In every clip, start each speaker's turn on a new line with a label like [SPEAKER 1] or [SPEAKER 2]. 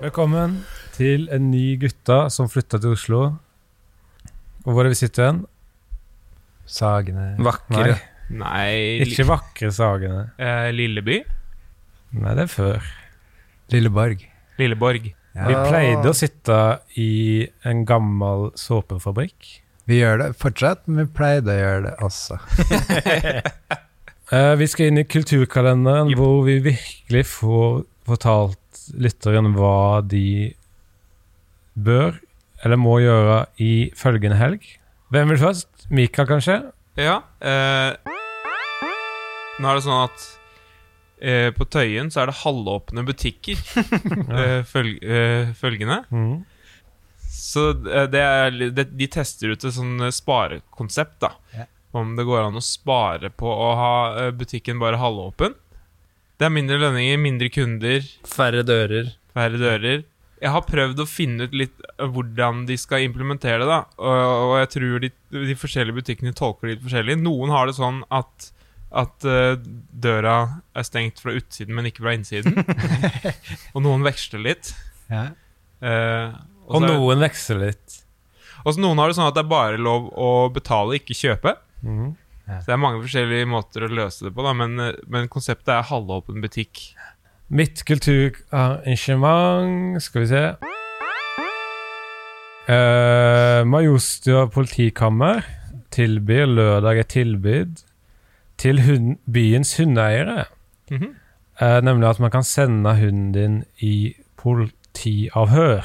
[SPEAKER 1] Velkommen til en ny gutta som flytta til Oslo. Og hvor er vi sitter igjen? Sagene
[SPEAKER 2] Vakre.
[SPEAKER 1] Nei,
[SPEAKER 3] Nei, li
[SPEAKER 1] ikke vakre Sagene.
[SPEAKER 3] eh, Lilleby?
[SPEAKER 1] Nei, det er før.
[SPEAKER 2] Lilleborg.
[SPEAKER 3] Lilleborg.
[SPEAKER 1] Vi
[SPEAKER 2] Ja,
[SPEAKER 1] pleide å sitte i en gammel såpefabrikk.
[SPEAKER 2] vi gjør det fortsatt, men vi pleide å gjøre det også.
[SPEAKER 1] Eh, vi skal inn i kulturkalenderen,
[SPEAKER 3] Jep.
[SPEAKER 1] hvor vi virkelig får fortalt lytteren hva de bør eller må gjøre i følgende helg. Hvem vil først? Mikael, kanskje?
[SPEAKER 3] Ja. Eh, nå er det sånn at eh, på Tøyen så er det halvåpne butikker. eh, følg, eh, følgende.
[SPEAKER 1] Mm.
[SPEAKER 3] Så eh, det er, li- det, de tester ut et sånn eh, sparekonsept, da.
[SPEAKER 2] Ja.
[SPEAKER 3] Om det går an å spare på å ha eh, butikken bare halvåpen. Det er mindre lønninger, mindre kunder,
[SPEAKER 4] Færre dører.
[SPEAKER 3] færre dører. Jeg har prøvd å finne ut litt eh, hvordan de skal implementere det. da Og, og jeg tror de, de forskjellige butikkene tolker det litt forskjellig. Noen har det sånn at, at eh, døra er stengt fra utsiden, men ikke fra innsiden. og noen veksler litt.
[SPEAKER 2] Ja.
[SPEAKER 3] Eh,
[SPEAKER 1] Og
[SPEAKER 3] og, så,
[SPEAKER 1] noen vekser litt.
[SPEAKER 3] og så noen har det sånn at det er bare lov å betale, ikke kjøpe.
[SPEAKER 1] Mm.
[SPEAKER 3] Så det er mange forskjellige måter å løse det på, da men, eh, men konseptet er halvåpen butikk.
[SPEAKER 1] Mitt kulturarrangement Skal vi se. Uh, Majorstua politikammer tilbyr lørdag et tilbud til hun, byens hundeeiere.
[SPEAKER 3] Mhm.
[SPEAKER 1] Eh, nemlig at man kan sende hunden din i politiavhør.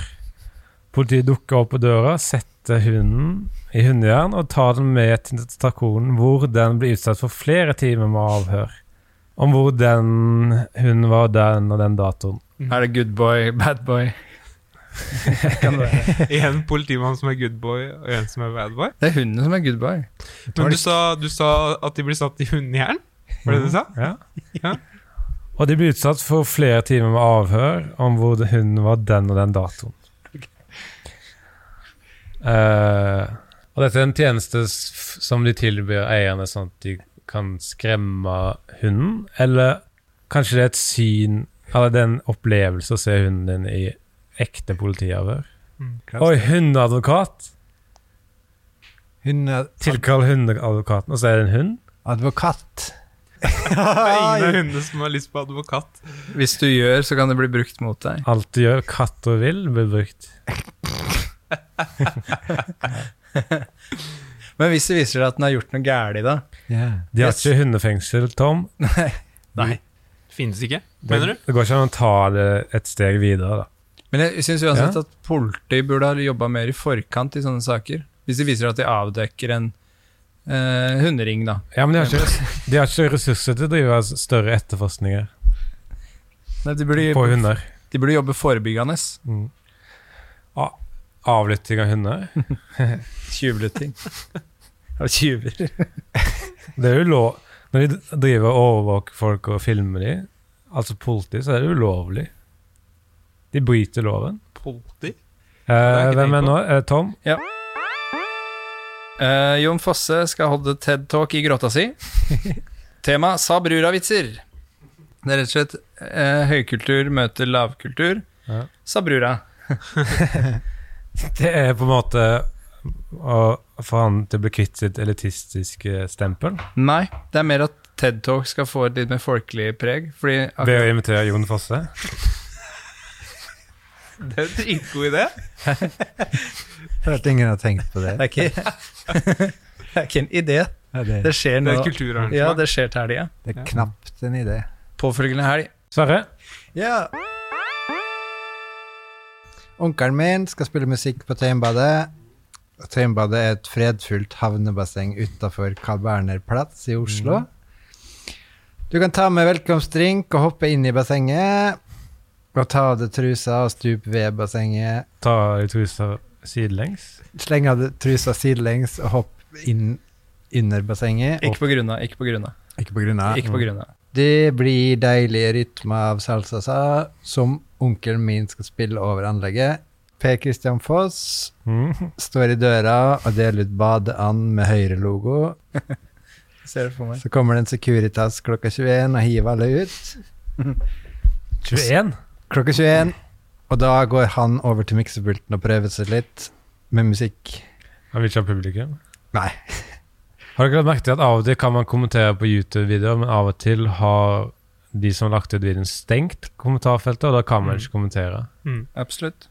[SPEAKER 1] Politiet dukker opp på døra, setter hunden i hundejern og tar den med til stasjonen, hvor den blir utsatt for flere timer med avhør. Om hvor den hunden var den og den datoen.
[SPEAKER 4] Er det good boy, bad boy? kan det være?
[SPEAKER 3] En politimann som er good boy, og en som er bad boy.
[SPEAKER 4] Det er hunden som er good boy.
[SPEAKER 3] Men du sa, du sa at de blir satt i hundejern? Var det det du sa?
[SPEAKER 1] Ja.
[SPEAKER 3] Ja.
[SPEAKER 1] Og de blir utsatt for flere timer med avhør om hvor hunden var den og den datoen. Eh, og dette er en tjeneste s- f- som de tilbyr eierne, sånn at de kan skremme hunden. Eller kanskje det er et syn Eller det er en opplevelse å se hunden din i ekte politiavhør. Oi, hundeadvokat!
[SPEAKER 2] Hun er
[SPEAKER 1] Tilkall hundeadvokaten, og så er det en hund?
[SPEAKER 2] advokat.
[SPEAKER 3] Det er ingen av
[SPEAKER 2] Oi.
[SPEAKER 3] hundene som har lyst på advokat.
[SPEAKER 4] Hvis du gjør, så kan det bli brukt mot deg.
[SPEAKER 1] Alt du gjør, katt og vill, blir brukt.
[SPEAKER 4] Men hvis det viser seg at den har gjort noe gærlig da?
[SPEAKER 2] Ja.
[SPEAKER 1] De har
[SPEAKER 4] Yes.
[SPEAKER 1] ikke hundefengsel, Tom.
[SPEAKER 4] Nei.
[SPEAKER 3] Finnes ikke,
[SPEAKER 1] Det,
[SPEAKER 3] mener du?
[SPEAKER 1] det går ikke an å ta det et steg videre, da.
[SPEAKER 4] Men jeg syns uansett at politiet burde ha jobba mer i forkant i sånne saker. Hvis det viser seg at de avdekker en eh, hundering, da.
[SPEAKER 1] Ja, men de har, ikke, de har ikke ressurser til å drive s- større etterforskninger
[SPEAKER 4] Nei, de, burde,
[SPEAKER 1] på hunder.
[SPEAKER 4] de burde jobbe forebyggende.
[SPEAKER 1] Mm. A- Avlytting av hunder.
[SPEAKER 4] Tjuvlytting. Av tjuver.
[SPEAKER 1] Det er ulov... Når de d- driver og overvåker folk og filmer de, altså politi, så er det ulovlig. De bryter loven.
[SPEAKER 3] Politi?
[SPEAKER 1] Eh,
[SPEAKER 3] har jeg ikke
[SPEAKER 1] hvem
[SPEAKER 3] tenkt
[SPEAKER 1] er
[SPEAKER 3] på.
[SPEAKER 1] nå? Eh, Tom?
[SPEAKER 4] Eh, Jon Fosse skal holde TED-talk i grotta si. Tema sa brura-vitser. Det er rett og slett eh, høykultur møter lavkultur.
[SPEAKER 1] Ja.
[SPEAKER 4] Sa brura.
[SPEAKER 1] Det er på en måte å få han til å bli kvitt sitt elitistiske stempel
[SPEAKER 4] Nei, det er mer at TED-talk skal få et litt mer folkelig preg. Fordi
[SPEAKER 1] ved å invitere Jon Fosse.
[SPEAKER 3] Det er en dritgod idé.
[SPEAKER 2] Hører at ingen har tenkt på det.
[SPEAKER 4] det, er ikke, det er ikke en idé.
[SPEAKER 2] Ja, det,
[SPEAKER 4] Det skjer
[SPEAKER 3] Det
[SPEAKER 4] nå.
[SPEAKER 3] er et
[SPEAKER 4] Ja,
[SPEAKER 3] kulturarrangement.
[SPEAKER 4] det skjer til helga.
[SPEAKER 2] det er knapt en idé.
[SPEAKER 4] Påfølgende helg.
[SPEAKER 1] Sverre?
[SPEAKER 2] Ja. Onkelen min skal spille musikk på Tøyenbadet. Og Tøyenbadet er et fredfullt havnebasseng utafor Carl Berner plass i Oslo.
[SPEAKER 4] Mm.
[SPEAKER 2] Du kan ta med velkomstdrink og hoppe inn i bassenget. Og ta av deg trusa og stup ved bassenget.
[SPEAKER 1] Ta i trusa sidelengs?
[SPEAKER 2] Sleng av deg trusa sidelengs og hopp inn under bassenget.
[SPEAKER 4] Ikke på grunn av, ikke på grunn av.
[SPEAKER 2] Og- ikke på grunn av
[SPEAKER 4] Ikke på grunn av.
[SPEAKER 2] Det blir deilig rytme av salsa sa, som onkelen min skal spille over anlegget. Per Christian Foss
[SPEAKER 1] Mm.
[SPEAKER 2] står i døra og deler ut badeand med Høyre-logo.
[SPEAKER 4] Ser det for meg.
[SPEAKER 2] Så kommer det en Securitas klokka 21 og hiver alle ut.
[SPEAKER 1] 21?
[SPEAKER 2] Klokka 21 Og da går han over til miksepulten og prøver seg litt med musikk.
[SPEAKER 1] Han vil ikke ha publikum.
[SPEAKER 2] Nei.
[SPEAKER 1] Har dere lagt merke til at av og til kan man kommentere på YouTube-videoer, men av og til har de som har lagt ut videoen, stengt kommentarfeltet, og da kan man
[SPEAKER 3] Mm.
[SPEAKER 1] ikke kommentere.
[SPEAKER 4] Absolutt.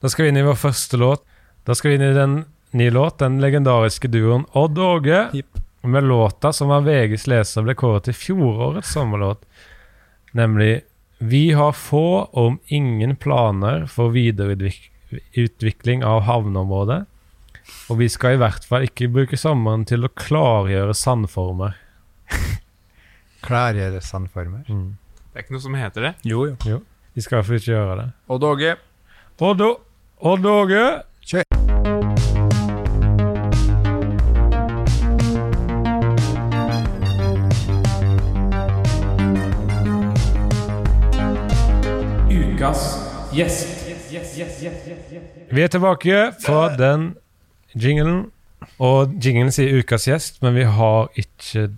[SPEAKER 1] Da skal vi inn i vår første låt. Da skal vi inn i den nye låt, den legendariske duoen Odd og Åge.
[SPEAKER 4] Jipp.
[SPEAKER 1] Med låta som av VGs leser ble kåret til fjorårets sommerlåt, nemlig Vi har få, om ingen, planer for videreutvikling av havneområdet. Og vi skal i hvert fall ikke bruke sommeren til å klargjøre sandformer.
[SPEAKER 2] Klargjøre sandformer.
[SPEAKER 3] Det er ikke noe som heter det.
[SPEAKER 4] Jo, jo.
[SPEAKER 1] Vi skal i hvert fall ikke gjøre det.
[SPEAKER 4] Og Åge.
[SPEAKER 1] Odd og- Odd og Åge
[SPEAKER 2] Kjør.
[SPEAKER 1] Ukas gjest. Vi er tilbake fra den jinglen. Og jinglen sier ukas gjest, men vi har ikke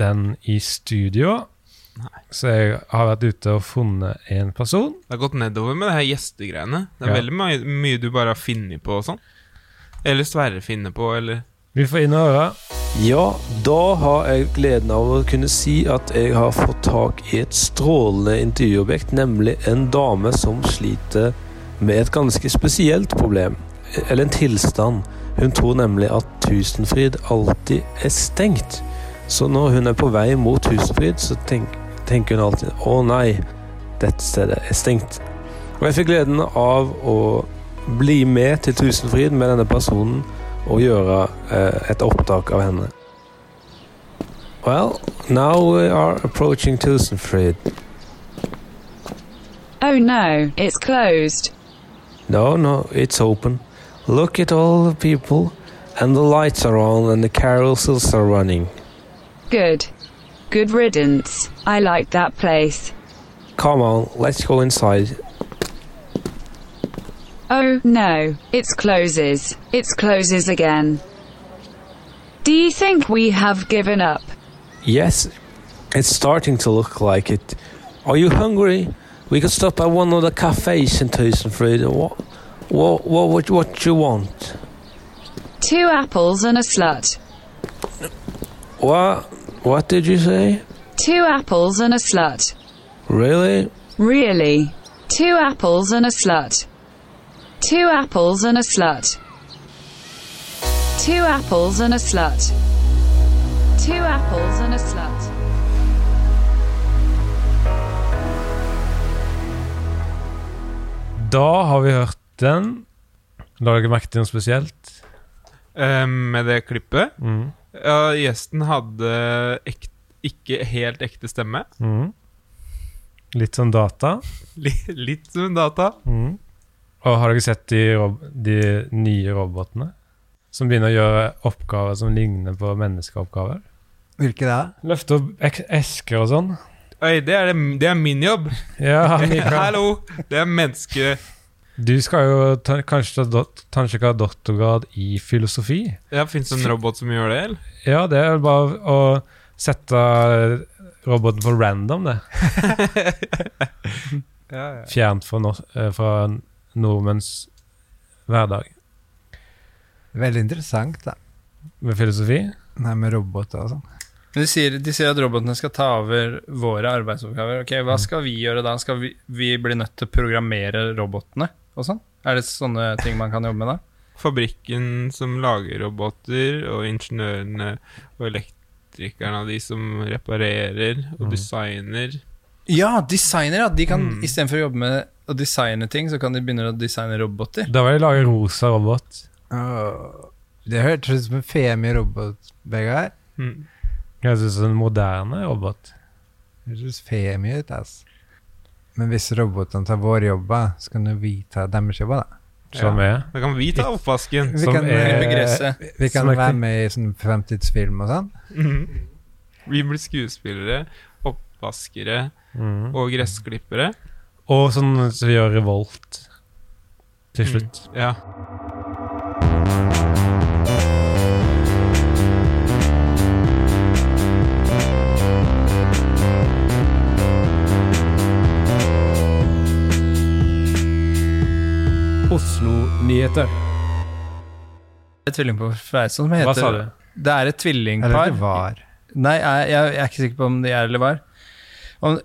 [SPEAKER 1] den i studio. Så jeg har vært ute og funnet en person.
[SPEAKER 3] Det har gått nedover med det her gjestegreiene. Det er
[SPEAKER 1] Ja.
[SPEAKER 3] veldig mye, mye du bare har funnet på og sånn. Eller Sverre finner på, eller
[SPEAKER 1] Vi får inn og høre.
[SPEAKER 5] Ja, da har jeg gleden av å kunne si at jeg har fått tak i et strålende intervjuobjekt, nemlig en dame som sliter med et ganske spesielt problem, eller en tilstand. Hun tror nemlig at Tusenfryd alltid er stengt. Så når hun er på vei mot Tusenfryd, så tenk, tenker hun alltid 'Å nei, dette stedet er stengt'. Og jeg fikk gleden av å bli med til Tusenfryd med denne personen og gjøre eh, et opptak av henne. Well, now we are approaching Tusenfryd.
[SPEAKER 6] Oh no, it's closed.
[SPEAKER 5] No, no, it's open. Look at all the people, and the lights are on, and the carousels are running.
[SPEAKER 6] Good. Good riddance. I like that place.
[SPEAKER 5] Come on, let's go inside.
[SPEAKER 6] Oh no, it's closes. It's closes again. Do you think we have given up?
[SPEAKER 5] Yes, it's starting to look like it. Are you hungry? We could stop at one of the cafes in Tusenfryd. What, what, what, what, what you want?
[SPEAKER 6] Two apples and a slut.
[SPEAKER 5] What, what did you say?
[SPEAKER 6] Two apples and a slut.
[SPEAKER 5] Really?
[SPEAKER 6] Really? Two apples and a slut. Two apples and a slut. Two apples and a slut. Two apples and a slut.
[SPEAKER 1] Da har vi hørt den. La dere merke til noe spesielt?
[SPEAKER 3] eh, med det klippet.
[SPEAKER 1] Mm.
[SPEAKER 3] Ja, gjesten hadde ek- ikke helt ekte stemme.
[SPEAKER 1] Mm. Litt sånn data.
[SPEAKER 3] Litt, litt som data.
[SPEAKER 1] Mm. Og har dere sett de, rob de nye robotene? Som begynner å gjøre oppgaver som ligner på menneskeoppgaver?
[SPEAKER 2] Hvilke da?
[SPEAKER 1] Løfte opp ek- esker og sånn?
[SPEAKER 3] Oi, det er, det, det er min jobb!
[SPEAKER 1] Ja, Mikael.
[SPEAKER 3] Hallo! Det er menneske...
[SPEAKER 1] Du skal jo ta, kanskje ta dot, kanskje ikke ha doktorgrad i filosofi?
[SPEAKER 3] Ja, Fins det en robot som gjør det, eller?
[SPEAKER 1] Ja, det er bare å sette roboten på random, det.
[SPEAKER 3] Ja, ja.
[SPEAKER 1] Fjernt fra, nor eh, fra nordmenns hverdag
[SPEAKER 2] Veldig interessant, da.
[SPEAKER 1] med filosofi.
[SPEAKER 2] Nei, med roboter og sånn.
[SPEAKER 4] Men de sier, de sier at robotene skal ta over våre arbeidsoppgaver. Ok, Hva skal vi gjøre da? Skal vi, vi bli nødt til å programmere robotene og sånn? Er det sånne ting man kan jobbe med da?
[SPEAKER 3] fabrikken som lager roboter, og ingeniørene og elektrikerne og de som reparerer og
[SPEAKER 1] Mm.
[SPEAKER 3] designer.
[SPEAKER 4] Ja, designere! ja. De kan,
[SPEAKER 3] Mm.
[SPEAKER 4] Istedenfor å jobbe med å designe ting, så kan de begynne å designe roboter.
[SPEAKER 1] Da vil jeg lage rosa robot.
[SPEAKER 2] Åh, Det hørtes ut som en femi-robot, Vegard.
[SPEAKER 3] Mm.
[SPEAKER 1] Kanskje som en moderne robot.
[SPEAKER 2] Det Hørtes femi ut, ass. Men hvis robotene tar våre jobber, så kan jo vi ta deres jobber, da.
[SPEAKER 1] Som er
[SPEAKER 3] Da kan vi ta oppvasken.
[SPEAKER 2] Vi
[SPEAKER 1] Som
[SPEAKER 2] kan, eh,
[SPEAKER 1] er-
[SPEAKER 4] Klippe gresset.
[SPEAKER 2] vi- vi kan
[SPEAKER 1] som er-
[SPEAKER 2] være med i sånn fremtidsfilm og sånn.
[SPEAKER 3] Mm. Vi blir skuespillere, oppvaskere
[SPEAKER 1] Mm.
[SPEAKER 3] og gressklippere.
[SPEAKER 1] Og sånn som vi gjør revolt til slutt.
[SPEAKER 3] Ja.
[SPEAKER 5] Oslo-nyheter.
[SPEAKER 4] Det er et tvillingpar fra Eidsvoll som heter
[SPEAKER 1] Hva sa du?
[SPEAKER 4] Det er et
[SPEAKER 2] Eller
[SPEAKER 4] tvillingpar.
[SPEAKER 2] det var.
[SPEAKER 4] Nei, jeg, jeg er ikke sikker på om de er eller var. Om,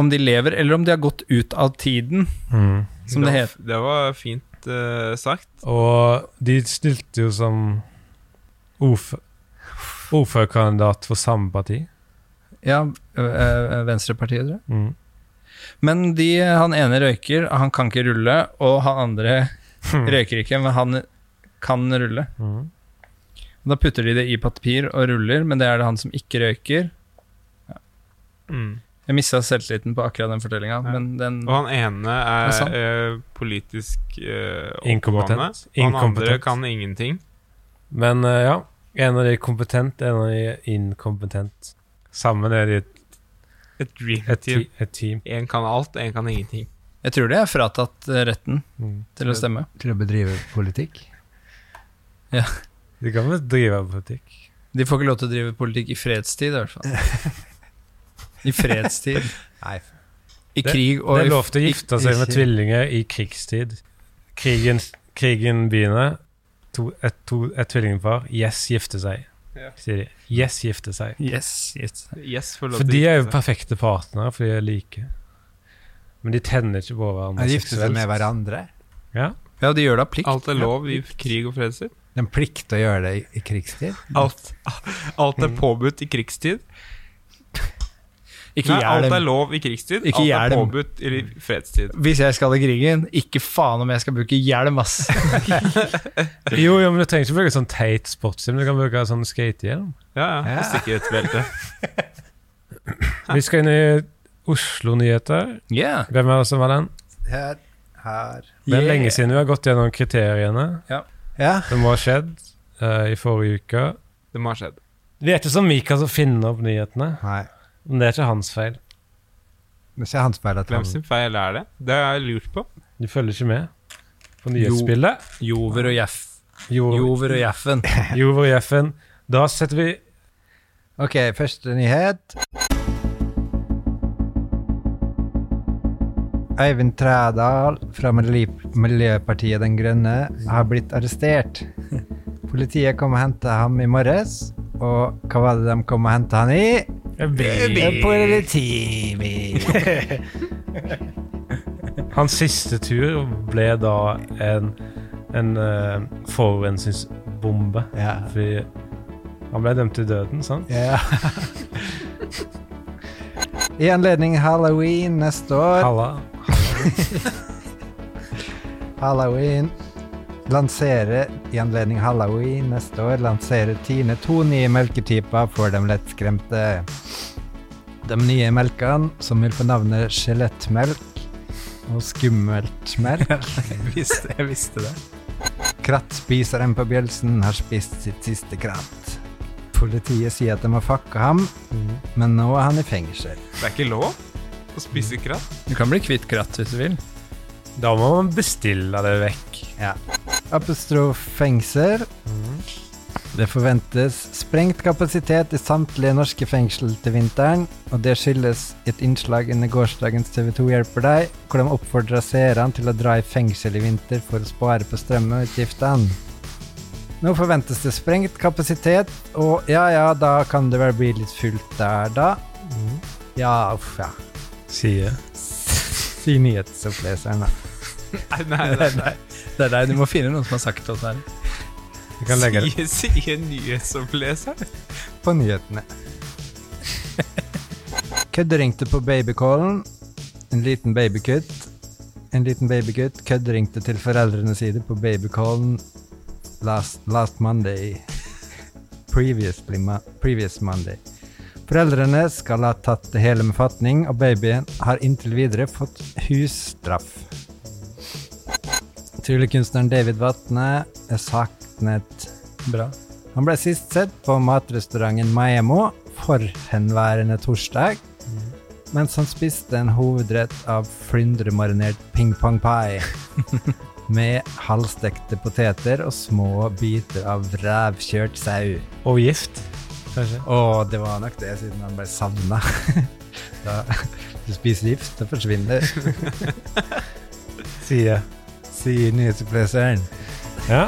[SPEAKER 4] om de lever, eller om de har gått ut av tiden,
[SPEAKER 1] Mm.
[SPEAKER 4] som det
[SPEAKER 3] var-
[SPEAKER 4] heter.
[SPEAKER 3] Det var fint eh, sagt.
[SPEAKER 1] Og de stilte jo som ordf- ordførerkandidat for samme parti.
[SPEAKER 4] Ja, ø- ø- Venstrepartiet, tror jeg.
[SPEAKER 1] Mm.
[SPEAKER 4] Men de, han ene røyker, han kan ikke rulle, og han andre
[SPEAKER 1] Hmm.
[SPEAKER 4] røyker ikke, men han kan rulle.
[SPEAKER 1] Mm.
[SPEAKER 4] Og Da putter de det i papir og ruller, men det er det han som ikke røyker.
[SPEAKER 3] Mm.
[SPEAKER 4] Jeg mista selvtilliten på akkurat den
[SPEAKER 3] Ja.
[SPEAKER 4] fortellinga, men den
[SPEAKER 3] Og han ene
[SPEAKER 4] Det er
[SPEAKER 3] er,
[SPEAKER 4] sant.
[SPEAKER 3] eh, politisk eh, oppegående.
[SPEAKER 1] Inkompetent.
[SPEAKER 3] og Han andre
[SPEAKER 1] Inkompetent.
[SPEAKER 3] kan ingenting.
[SPEAKER 1] Men eh, ja, en av de er kompetent, en av de er inkompetent. Sammen er de et,
[SPEAKER 3] Et dream
[SPEAKER 1] et,
[SPEAKER 3] team.
[SPEAKER 1] ti, et team.
[SPEAKER 3] Én kan alt, én kan ingenting.
[SPEAKER 4] Jeg tror de er fratatt eh, retten
[SPEAKER 1] Mm.
[SPEAKER 4] til å stemme.
[SPEAKER 2] Til å bedrive politikk.
[SPEAKER 1] De kan vel drive butikk.
[SPEAKER 4] De får ikke lov til å drive politikk i fredstid, i hvert fall. I fredstid.
[SPEAKER 2] Nei.
[SPEAKER 4] I krig og
[SPEAKER 1] det
[SPEAKER 4] i
[SPEAKER 1] er lov til å gifte seg med
[SPEAKER 2] ikke-
[SPEAKER 1] tvillinger i krigstid. Krigen, krigen begynner. To, et, to, et tvillingpar. Yes, gifte seg,
[SPEAKER 3] Ja.
[SPEAKER 1] sier de. Yes, gifte seg.
[SPEAKER 4] Yes, yes.
[SPEAKER 3] Yes, får lov
[SPEAKER 1] For
[SPEAKER 3] til å
[SPEAKER 1] de er jo
[SPEAKER 3] gifte seg.
[SPEAKER 1] perfekte partnere, for de er like. Men de tenner ikke på hverandre.
[SPEAKER 2] De gifter seg
[SPEAKER 1] seksuelt.
[SPEAKER 2] med hverandre.
[SPEAKER 4] Ja, de gjør det av plikt.
[SPEAKER 3] Alt er lov i krig og fredstid.
[SPEAKER 2] Det er en plikt å gjøre det i, i krigstid.
[SPEAKER 4] Mm.
[SPEAKER 3] Alt, alt er påbudt i krigstid.
[SPEAKER 4] Ikke
[SPEAKER 3] Nei,
[SPEAKER 4] gjør
[SPEAKER 3] alt er
[SPEAKER 4] det.
[SPEAKER 3] lov i krigstid.
[SPEAKER 4] Ikke
[SPEAKER 3] alt
[SPEAKER 4] gjør
[SPEAKER 3] er
[SPEAKER 4] dem.
[SPEAKER 3] påbudt i fredstid.
[SPEAKER 4] Hvis jeg skal i krigen, ikke faen om jeg skal bruke hjelm, ass.
[SPEAKER 1] Jo, jo, men du trenger ikke bruke sånn teit sportshjelm. Du kan bruke sånn skatehjelm.
[SPEAKER 3] Ja, ja.
[SPEAKER 2] Ja.
[SPEAKER 3] Og sikkerhetsbelte.
[SPEAKER 1] Vi skal inn i Oslo-nyheter.
[SPEAKER 4] Yeah.
[SPEAKER 1] Hvem er det som var den?
[SPEAKER 2] Her, her.
[SPEAKER 1] Det er
[SPEAKER 4] Yeah.
[SPEAKER 1] lenge siden vi har gått gjennom kriteriene.
[SPEAKER 2] Ja.
[SPEAKER 1] Det må ha skjedd eh, i forrige uke.
[SPEAKER 3] Det må ha skjedd.
[SPEAKER 1] Det er ikke som Mikael som finner opp nyhetene.
[SPEAKER 2] Nei.
[SPEAKER 1] Men det er ikke hans feil.
[SPEAKER 2] Nå ser han speilet
[SPEAKER 3] Hvem
[SPEAKER 2] han
[SPEAKER 3] sin feil er det? Det har jeg lurt på.
[SPEAKER 1] Du følger ikke med på nyhetsbildet.
[SPEAKER 4] Jover og Jeff.
[SPEAKER 1] Jo,
[SPEAKER 4] Jover og Jeffen.
[SPEAKER 1] Jover Jeffen. Da setter vi
[SPEAKER 2] Ok, første nyhet. Eivind Trædal fra Miljø- Miljøpartiet Den Grønne har blitt arrestert. Politiet kom og henta ham i morges, og hva var det de kom og henta han i? En politibil.
[SPEAKER 1] Hans siste tur ble da en, en eh, forurensningsbombe.
[SPEAKER 2] Ja.
[SPEAKER 1] Fordi han ble dømt til døden, sant?
[SPEAKER 2] Ja. I anledning halloween neste år
[SPEAKER 1] Halla.
[SPEAKER 2] Halloween lanserer i anledning Halloween neste år lanserer Tine to nye melketyper for de lettskremte. De nye melkene, som vil få navnet skjelettmelk og skummeltmelk
[SPEAKER 4] Jeg visste, jeg visste det.
[SPEAKER 2] Krattspiseren på Bjølsen har spist sitt siste kratt. Politiet sier at de har fucka ham,
[SPEAKER 4] Mm.
[SPEAKER 2] men nå er han i fengsel.
[SPEAKER 3] Det er ikke lov å spise kratt.
[SPEAKER 4] Du kan bli kvitt kratt hvis du vil.
[SPEAKER 1] Da må man bestille det vekk.
[SPEAKER 2] Apostrof fengsel. Det forventes sprengt kapasitet i samtlige norske fengsel til vinteren, og det skyldes et innslag under gårsdagens TV 2 Hjelper deg, hvor de oppfordrer seerne til å dra i fengsel i vinter for å spare på strømmen og utgiftene. Nå forventes det sprengt kapasitet, og ja ja, da kan det vel bli litt fullt der, da. Ja, uff, ja.
[SPEAKER 1] Sier
[SPEAKER 2] Sier nyhetsoppleseren, da.
[SPEAKER 3] Nei, nei, nei.
[SPEAKER 4] Det er deg, det er deg. Du må finne noen som har sagt det til deg.
[SPEAKER 1] Vi kan legge det
[SPEAKER 3] Sier sier nyhetsoppleser.
[SPEAKER 2] på nyhetene. Kødderingte på babycallen. En liten babygutt. En liten babygutt kødderingte til foreldrene sine på babycallen last, last Monday. Previously ma previous Monday. Foreldrene skal ha tatt det hele med fatning, og babyen har inntil videre fått husstraff. Tryllekunstneren David Vatne er savnet
[SPEAKER 4] Bra.
[SPEAKER 2] han ble sist sett på matrestauranten Maemo forhenværende torsdag, mens han spiste en hovedrett av flyndremarinert pingpongpai med halvstekte poteter og små biter av rævkjørt sau.
[SPEAKER 1] Og gift, kanskje.
[SPEAKER 2] Og det var nok det, siden han ble savna. da du spiser gift, da forsvinner
[SPEAKER 1] Sier
[SPEAKER 2] si nyhetsoppleseren.
[SPEAKER 1] Ja.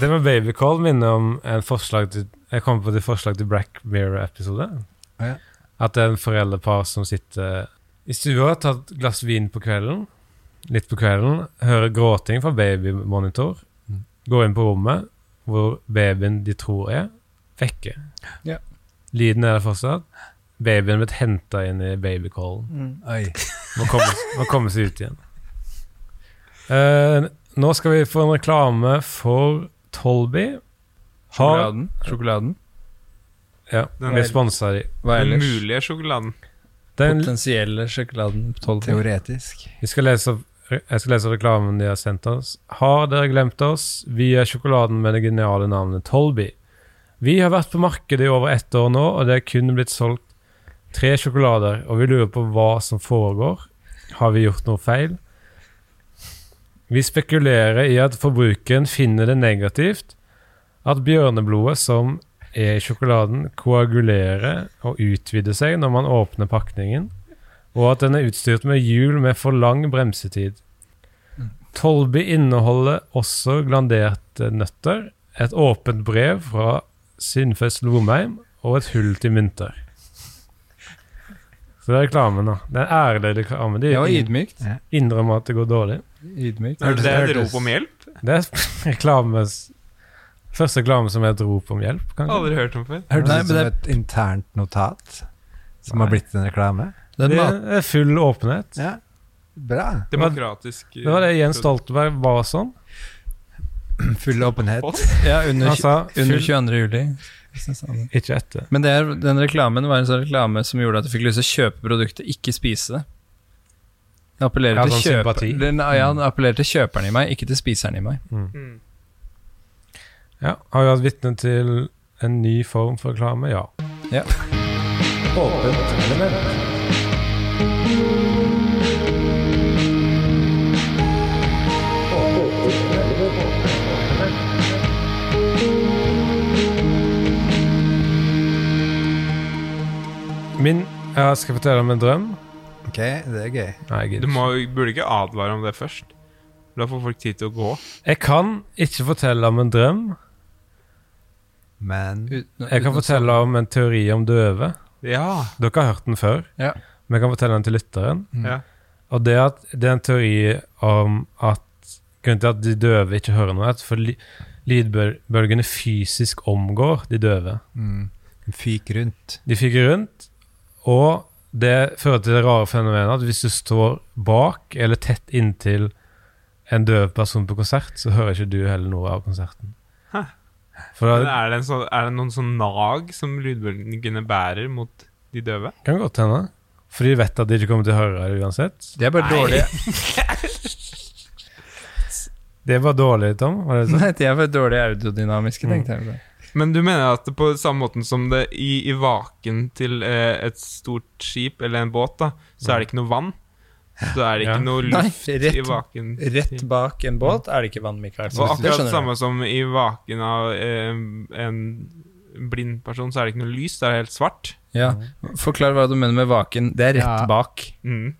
[SPEAKER 1] Det med babycall minner om en forslag til Jeg kom på det forslag til Black Mirror-episode.
[SPEAKER 2] Ja.
[SPEAKER 1] At det er en foreldrepar som sitter i stua, tar et glass vin på kvelden, litt på kvelden, hører gråting fra babymonitor,
[SPEAKER 2] Mm.
[SPEAKER 1] går inn på rommet hvor babyen de tror er, vekker.
[SPEAKER 4] Ja.
[SPEAKER 1] Lyden er der fortsatt. Babyen er blitt henta inn i babycallen.
[SPEAKER 2] Mm. Oi.
[SPEAKER 1] Må komme, må komme seg ut igjen. Eh, nå skal vi få en reklame for Tolby. Har,
[SPEAKER 4] Sjokoladen. Sjokoladen.
[SPEAKER 1] ja,
[SPEAKER 3] Den
[SPEAKER 1] vi
[SPEAKER 3] er-
[SPEAKER 1] sponser de.
[SPEAKER 4] Hva
[SPEAKER 3] Den
[SPEAKER 4] ellers?
[SPEAKER 3] mulige sjokoladen.
[SPEAKER 1] Det er en-
[SPEAKER 4] Potensielle sjokoladen på 12
[SPEAKER 2] Teoretisk.
[SPEAKER 1] Vi skal lese, jeg skal lese reklamen de har sendt oss. Har dere glemt oss? Vi er sjokoladen med det geniale navnet Tolby. Vi har vært på markedet i over ett år nå, og det er kun blitt solgt tre sjokolader, og vi lurer på hva som foregår. Har vi gjort noe feil? Vi spekulerer i at forbrukeren finner det negativt at bjørneblodet som er i sjokoladen, koagulerer og utvider seg når man åpner pakningen og at den er utstyrt med hjul med for lang bremsetid. Tolby inneholder også glanderte nøtter, et åpent brev fra Synfest Lomheim og et hull til mynter. Så det er reklamen, da. Det er en ærlig reklame. De
[SPEAKER 4] Det var ydmykt.
[SPEAKER 1] innrømmer at det går dårlig.
[SPEAKER 4] ydmykt.
[SPEAKER 3] Er
[SPEAKER 2] Hørtes-
[SPEAKER 3] det et rop
[SPEAKER 2] hørtes-
[SPEAKER 3] om hjelp?
[SPEAKER 1] Det er reklames Første reklame som er et rop om hjelp, kanskje.
[SPEAKER 3] Aldri hørt om før.
[SPEAKER 2] Hørtes
[SPEAKER 4] Nei, men
[SPEAKER 2] ut som
[SPEAKER 4] det-
[SPEAKER 2] et internt notat som har blitt en reklame.
[SPEAKER 4] Den
[SPEAKER 1] Det
[SPEAKER 4] mat,
[SPEAKER 1] er full åpenhet.
[SPEAKER 2] Ja. Bra.
[SPEAKER 3] Demokratisk. eh,
[SPEAKER 1] Det var det Jens Stoltenberg var sånn.
[SPEAKER 2] Full åpenhet.
[SPEAKER 4] ja, under,
[SPEAKER 1] Han sa
[SPEAKER 4] under
[SPEAKER 1] full,
[SPEAKER 4] 22. juli. Hvis jeg sa det.
[SPEAKER 1] ikke etter.
[SPEAKER 4] Men det er, den reklamen var en sånn reklame som gjorde at du fikk lyst til å kjøpe produktet, ikke spise det. Den appellerer,
[SPEAKER 1] Ja,
[SPEAKER 4] til,
[SPEAKER 1] sånn
[SPEAKER 4] kjøper,
[SPEAKER 1] sympati.
[SPEAKER 4] den, ja, den appellerer til kjøperen i meg, ikke til spiseren i meg.
[SPEAKER 3] Mm.
[SPEAKER 1] Ja, Har vi vært vitne til en ny form for reklame? Ja.
[SPEAKER 4] Ja.
[SPEAKER 1] Åpent element. Min Jeg skal fortelle om en drøm.
[SPEAKER 2] Ok, det er gøy.
[SPEAKER 1] Nei, jeg
[SPEAKER 3] Du
[SPEAKER 1] gidder ikke.
[SPEAKER 3] må, burde ikke advare om det først. Da får folk tid til å gå.
[SPEAKER 1] Jeg kan ikke fortelle om en drøm.
[SPEAKER 2] Men
[SPEAKER 1] Jeg kan fortelle
[SPEAKER 3] sånn.
[SPEAKER 1] om en teori om døve.
[SPEAKER 3] Ja.
[SPEAKER 1] Dere har hørt den før,
[SPEAKER 4] Ja.
[SPEAKER 1] men jeg kan fortelle den til lytteren.
[SPEAKER 3] Ja.
[SPEAKER 1] Og det, at, det er en teori om at grunnen til at de døve ikke hører noe, er at for ly- lydbølgene fysisk omgår de døve.
[SPEAKER 2] mm, fyk rundt.
[SPEAKER 1] De fyker rundt, og det fører til det rare fenomenet at hvis du står bak eller tett inntil en døv person på konsert, så hører ikke du heller noe av konserten.
[SPEAKER 3] Hæ.
[SPEAKER 1] For
[SPEAKER 3] Men
[SPEAKER 1] da
[SPEAKER 3] er, det en sånn, er det noen sånn nag som lydbølgene bærer mot de døve?
[SPEAKER 1] kan det godt hende. For de vet at de ikke kommer til å høre det uansett.
[SPEAKER 2] Det er bare dårlig.
[SPEAKER 1] Det er bare dårlig, Tom. Var det det du sa?
[SPEAKER 4] Nei, de er bare dårlig audiodynamiske, tenkte jeg.
[SPEAKER 1] Mm.
[SPEAKER 4] bare.
[SPEAKER 3] Men du mener at det på samme måten som det i, i vaken til eh, et stort skip eller en båt, da, så er det ikke noe vann? Så er det
[SPEAKER 1] Mm. Ja.
[SPEAKER 3] ikke noe
[SPEAKER 4] Nei,
[SPEAKER 3] luft
[SPEAKER 4] rett-
[SPEAKER 3] i vaken?
[SPEAKER 4] Rett bak en båt er det ikke vann, Mikael.
[SPEAKER 3] Og
[SPEAKER 4] Det
[SPEAKER 3] akkurat det
[SPEAKER 4] skjønner Altså, du.
[SPEAKER 3] samme som i vaken av eh, en blind person, så er det ikke noe lys, det er helt svart.
[SPEAKER 4] Ja. Forklar hva du mener med vaken. Det er rett
[SPEAKER 2] Ja.
[SPEAKER 4] bak.
[SPEAKER 3] Mm.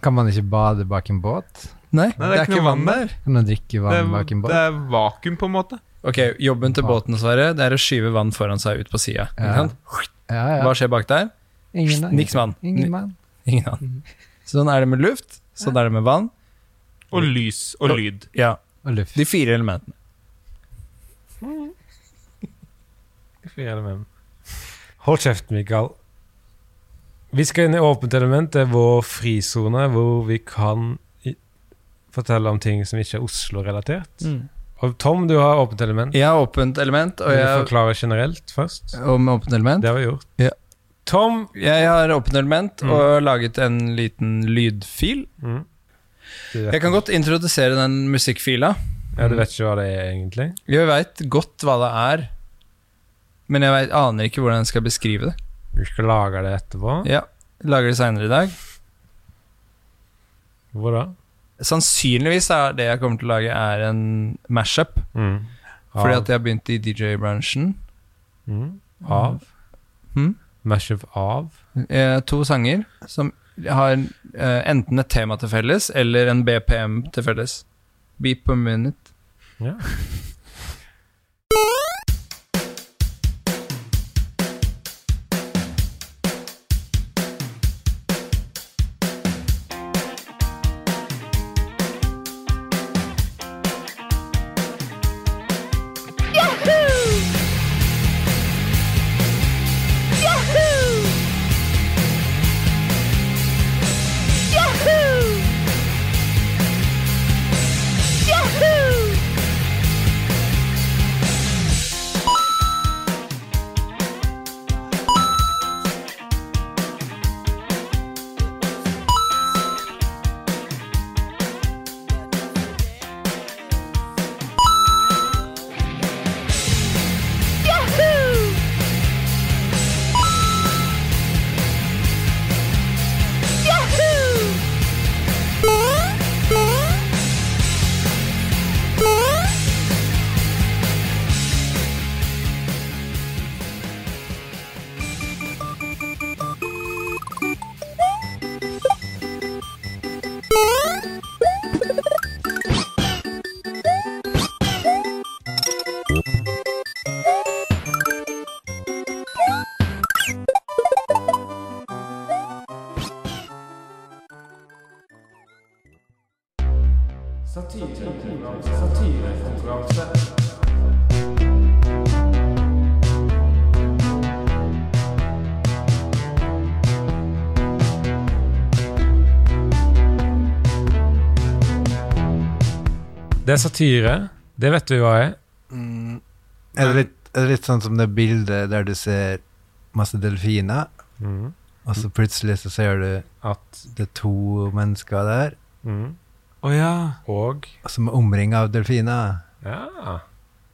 [SPEAKER 2] Kan man ikke bade bak en båt?
[SPEAKER 4] Nei,
[SPEAKER 3] Nei, det er ikke noe vann der.
[SPEAKER 2] Kan man drikke
[SPEAKER 3] Det,
[SPEAKER 2] vann bak
[SPEAKER 3] er,
[SPEAKER 2] en båt?
[SPEAKER 3] det er vakuum, på en måte.
[SPEAKER 4] Ok, Jobben til
[SPEAKER 2] Bak.
[SPEAKER 4] båten Sverre, det er å skyve vann foran seg ut på sida.
[SPEAKER 2] Ja. Ja, ja.
[SPEAKER 4] Hva skjer bak der?
[SPEAKER 2] Ingen aning.
[SPEAKER 4] Niks vann.
[SPEAKER 2] Ingen mann.
[SPEAKER 4] Ingen annen. Sånn er det med luft, sånn er det med vann.
[SPEAKER 3] Og lys og lyd.
[SPEAKER 4] Ja,
[SPEAKER 2] Og luft.
[SPEAKER 4] De fire elementene.
[SPEAKER 1] Fire element. Hold kjeft, Mikael. Vi skal inn i åpent element. Det er vår frisone, hvor vi kan i- fortelle om ting som ikke er Oslo-relatert. Og Tom, du har åpent element.
[SPEAKER 4] Jeg har åpent element, Mm. og
[SPEAKER 1] Vil du
[SPEAKER 4] jeg
[SPEAKER 1] forklare generelt først?
[SPEAKER 4] om åpent element.
[SPEAKER 1] Det har vi gjort.
[SPEAKER 4] Ja.
[SPEAKER 1] Tom
[SPEAKER 4] Jeg har åpent element
[SPEAKER 1] Mm.
[SPEAKER 4] og laget en liten lydfil.
[SPEAKER 1] mm. du, vet,
[SPEAKER 4] Jeg kan godt introdusere den musikkfila.
[SPEAKER 1] ja, du vet ikke hva det er, egentlig?
[SPEAKER 4] Jeg veit godt hva det er, men jeg vet, aner ikke hvordan jeg skal beskrive det.
[SPEAKER 1] Du skal lage det etterpå?
[SPEAKER 4] Ja, Lager det seinere i dag.
[SPEAKER 1] Hvor da?
[SPEAKER 4] Sannsynligvis er det jeg kommer til å lage, er en mashup.
[SPEAKER 1] Mm.
[SPEAKER 4] Fordi
[SPEAKER 2] Ah.
[SPEAKER 1] Av-
[SPEAKER 4] at jeg begynte i DJ-bransjen.
[SPEAKER 1] mm. Av?
[SPEAKER 4] Mm.
[SPEAKER 1] Mashup av
[SPEAKER 4] Eh, to sanger som har eh, enten et tema til felles eller en BPM til felles. Beat per minute.
[SPEAKER 1] Ja. Det er satire. Det vet du hva er.
[SPEAKER 2] Mm. Er, det litt, er det litt sånn som det bildet der du ser masse delfiner,
[SPEAKER 1] Mm.
[SPEAKER 2] og så plutselig så ser du
[SPEAKER 1] At
[SPEAKER 2] det er to mennesker der
[SPEAKER 1] mm.
[SPEAKER 3] Å ja.
[SPEAKER 1] Og
[SPEAKER 2] som er omringa av delfiner?
[SPEAKER 1] Ja.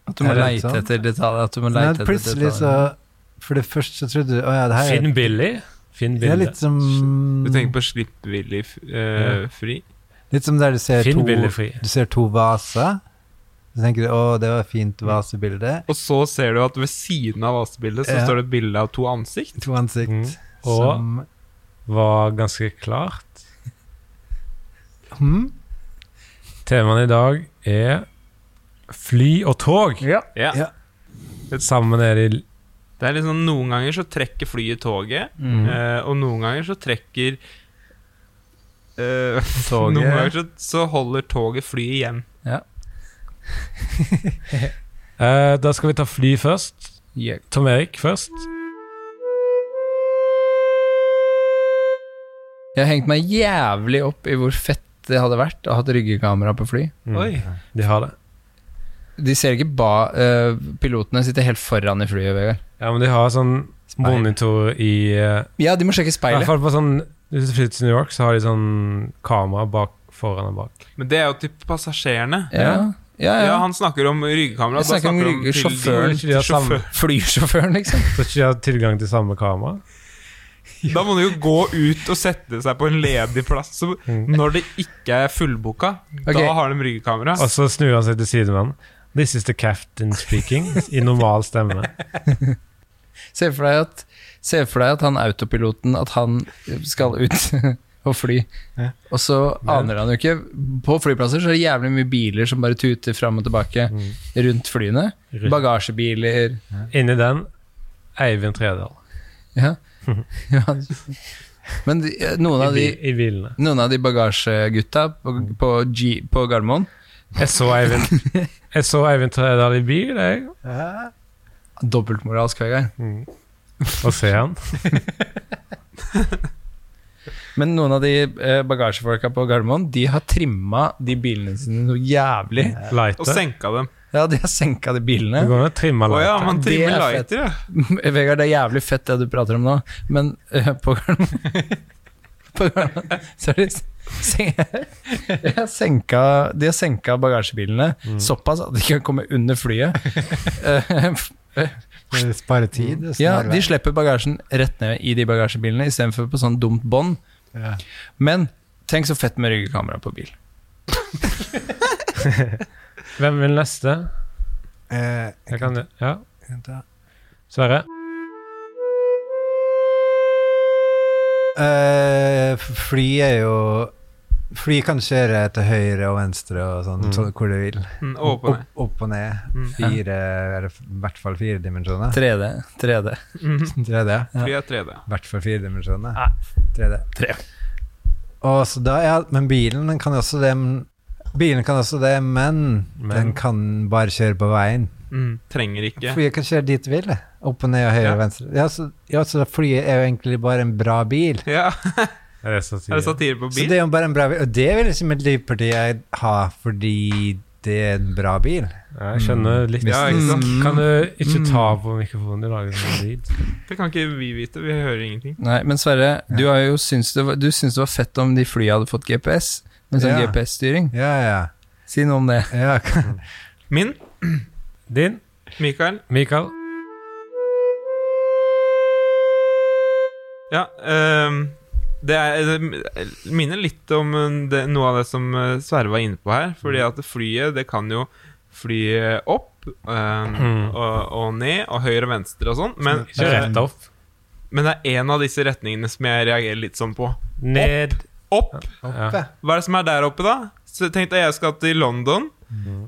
[SPEAKER 4] At du må
[SPEAKER 2] Er det
[SPEAKER 4] leite
[SPEAKER 2] sånn?
[SPEAKER 4] etter detaljer. At du må
[SPEAKER 2] Nei,
[SPEAKER 4] leite etter
[SPEAKER 2] plutselig så
[SPEAKER 4] detaljer.
[SPEAKER 2] For det første så trodde du Å ja, det her er,
[SPEAKER 1] Finn Billy. Finn
[SPEAKER 2] det er
[SPEAKER 1] Billy.
[SPEAKER 2] litt som
[SPEAKER 3] Du tenker på Slipp Willy f- eh, fri?
[SPEAKER 2] Litt som der du ser
[SPEAKER 1] Finn
[SPEAKER 2] eh, to
[SPEAKER 1] Billy fri.
[SPEAKER 2] Du ser to vaser. Så tenker du å, det var et fint
[SPEAKER 1] Mm.
[SPEAKER 2] vasebilde.
[SPEAKER 3] Og så ser du at ved siden av vasebildet så
[SPEAKER 2] Ja.
[SPEAKER 3] står det et bilde av to ansikt.
[SPEAKER 2] To ansikt
[SPEAKER 1] Mm. Og
[SPEAKER 2] som
[SPEAKER 1] var ganske klart.
[SPEAKER 2] hm?
[SPEAKER 1] Temaene i dag er fly og tog.
[SPEAKER 3] Ja.
[SPEAKER 2] Ja.
[SPEAKER 1] Sammen er de
[SPEAKER 3] Det er liksom Noen ganger så trekker flyet toget,
[SPEAKER 4] Mm.
[SPEAKER 3] eh, og noen ganger så trekker eh,
[SPEAKER 4] Toget.
[SPEAKER 3] Noen ganger så, så holder toget flyet igjen.
[SPEAKER 1] Eh, Da skal vi ta fly først.
[SPEAKER 4] Yeah.
[SPEAKER 1] Tom Erik først.
[SPEAKER 4] Jeg har hengt meg jævlig opp i hvor fett det hadde vært å ha et ryggekamera på fly.
[SPEAKER 3] Oi.
[SPEAKER 1] Mm. De har det.
[SPEAKER 4] De ser ikke ba... eh, pilotene sitter helt foran i flyet, Vegard.
[SPEAKER 1] Ja, men de har sånn
[SPEAKER 4] Speil.
[SPEAKER 1] monitor i eh,
[SPEAKER 4] Ja, de må
[SPEAKER 1] I
[SPEAKER 4] sjekke
[SPEAKER 1] hvert
[SPEAKER 2] Ah,
[SPEAKER 4] speilet.
[SPEAKER 1] fall på sånn Hvis du flytter til New York, så har de sånn kamera bak, foran og bak.
[SPEAKER 3] Men det er jo til passasjerene.
[SPEAKER 4] Ja, ja,
[SPEAKER 3] Ja,
[SPEAKER 4] ja.
[SPEAKER 3] han snakker om ryggekamera.
[SPEAKER 4] Jeg
[SPEAKER 3] da
[SPEAKER 4] snakker om
[SPEAKER 3] du til
[SPEAKER 4] rygge-
[SPEAKER 3] de-
[SPEAKER 4] sjåføren.
[SPEAKER 1] Ikke de har samme-
[SPEAKER 3] sjåfør.
[SPEAKER 4] Flysjåføren, liksom.
[SPEAKER 1] Så ikke de har tilgang til samme kamera.
[SPEAKER 3] Da må du jo gå ut og sette seg på en ledig plass. Så
[SPEAKER 1] Mm.
[SPEAKER 3] når det ikke er fullbooka,
[SPEAKER 4] Ok.
[SPEAKER 3] da har de ryggekamera.
[SPEAKER 1] Og så snur han seg til sidemannen. This is the captain speaking. I normal stemme.
[SPEAKER 4] Se for deg at, se for deg at han autopiloten At han skal ut og fly.
[SPEAKER 2] Ja.
[SPEAKER 4] Og så
[SPEAKER 1] Men-
[SPEAKER 4] aner han jo ikke På flyplasser så er det jævlig mye biler som bare tuter fram og tilbake
[SPEAKER 1] Mm.
[SPEAKER 4] rundt flyene. Bagasjebiler
[SPEAKER 1] Inni den Eivind Tredal.
[SPEAKER 4] Ja. ja. Men de, noen,
[SPEAKER 1] I,
[SPEAKER 4] av de,
[SPEAKER 1] bi- I bilene.
[SPEAKER 4] noen av de bagasjegutta på, på, G, på Gardermoen
[SPEAKER 1] Jeg så Eivind Jeg så Eivind Tredal i bil, jeg.
[SPEAKER 2] Ja.
[SPEAKER 4] Dobbeltmoralsk, Vegard.
[SPEAKER 1] Og ser han.
[SPEAKER 4] Men noen av de eh, bagasjefolka på Gardermoen De har trimma de bilene sine noe jævlig.
[SPEAKER 3] Og
[SPEAKER 1] Lighter.
[SPEAKER 3] senka dem.
[SPEAKER 4] Ja, de har senka de
[SPEAKER 1] Det
[SPEAKER 4] bilene.
[SPEAKER 1] går an å trimme
[SPEAKER 3] Å ja,
[SPEAKER 1] lighter.
[SPEAKER 3] man trimmer
[SPEAKER 4] Det er fett.
[SPEAKER 3] lighter, ja.
[SPEAKER 4] Vegard, det er jævlig fett det du prater om nå, men eh, på Gardermoen På Gardermoen så er det sen de, har senka, de har senka bagasjebilene
[SPEAKER 2] Mm.
[SPEAKER 4] såpass at de kan komme under flyet. Eh, f-
[SPEAKER 2] For å Spare
[SPEAKER 1] Mm.
[SPEAKER 2] tid. og
[SPEAKER 4] ja,
[SPEAKER 2] snarvei.
[SPEAKER 4] de slipper bagasjen rett ned i de bagasjebilene istedenfor på sånn dumt bånd.
[SPEAKER 2] Ja.
[SPEAKER 4] Men tenk så fett med ryggekamera på bil.
[SPEAKER 1] Hvem vil neste?
[SPEAKER 2] Eh,
[SPEAKER 1] Jeg kan, ja.
[SPEAKER 2] vent da.
[SPEAKER 1] Sverre?
[SPEAKER 2] eh, f- fly er jo Fly kan kjøre til høyre og venstre og sånn,
[SPEAKER 1] Mm.
[SPEAKER 2] sånn hvor du vil.
[SPEAKER 3] Mm, og opp og ned.
[SPEAKER 2] Opp, opp og ned.
[SPEAKER 3] Mm.
[SPEAKER 2] Fire, eller f- i hvert fall fire dimensjoner.
[SPEAKER 4] 3D. 3D.
[SPEAKER 3] Mhm.
[SPEAKER 2] Tre det.
[SPEAKER 3] Fly er 3D.
[SPEAKER 2] I hvert fall fire dimensjoner.
[SPEAKER 3] Nei.
[SPEAKER 2] Tre det.
[SPEAKER 4] Tre.
[SPEAKER 2] Og så da, ja, men bilen den kan også det men- Bilen kan også det, men,
[SPEAKER 1] Men.
[SPEAKER 2] den kan bare kjøre på veien.
[SPEAKER 3] Mm, trenger ikke.
[SPEAKER 2] Flyet kan kjøre dit du vil. jeg. Opp og ned og høyre
[SPEAKER 3] Ja.
[SPEAKER 2] og venstre. Ja, så, ja, så flyet er jo egentlig bare en bra bil.
[SPEAKER 3] Ja,
[SPEAKER 1] Er det satire?
[SPEAKER 3] Er det satire på
[SPEAKER 2] Så
[SPEAKER 3] bil?
[SPEAKER 2] det er jo bare en bra bil, og det vil ikke Miljøpartiet ha fordi det er en bra bil.
[SPEAKER 1] Ja, jeg skjønner litt.
[SPEAKER 3] Mm. Ja, ikke sant?
[SPEAKER 1] Kan du ikke ta på mikrofonen i dag? Sånn lyd?
[SPEAKER 3] Det kan ikke vi vite. Vi hører ingenting.
[SPEAKER 4] Nei, men Sverre, du, har jo syntes det var, du syntes det var fett om de flya hadde fått GPS, med sånn
[SPEAKER 2] Ja.
[SPEAKER 4] GPS-styring.
[SPEAKER 2] Ja, ja.
[SPEAKER 4] Si noe om det.
[SPEAKER 2] ja.
[SPEAKER 3] Min,
[SPEAKER 1] Din,
[SPEAKER 3] Mikael
[SPEAKER 1] Mikael.
[SPEAKER 3] Ja, ehm, det, er, det minner litt om eh, det, noe av det som eh, Sverre var inne på her. Fordi
[SPEAKER 1] Mhm.
[SPEAKER 3] at flyet, det kan jo fly opp ehm,
[SPEAKER 1] Mm.
[SPEAKER 3] og, og ned og høyre og venstre og sånn. Men,
[SPEAKER 1] Ikke
[SPEAKER 3] eh,
[SPEAKER 1] rett opp.
[SPEAKER 3] men det er en av disse retningene som jeg reagerer litt sånn på.
[SPEAKER 1] Ned.
[SPEAKER 3] Opp!
[SPEAKER 1] Ja.
[SPEAKER 3] Hva er det som er der oppe, da? Så tenkte jeg jeg skal til London.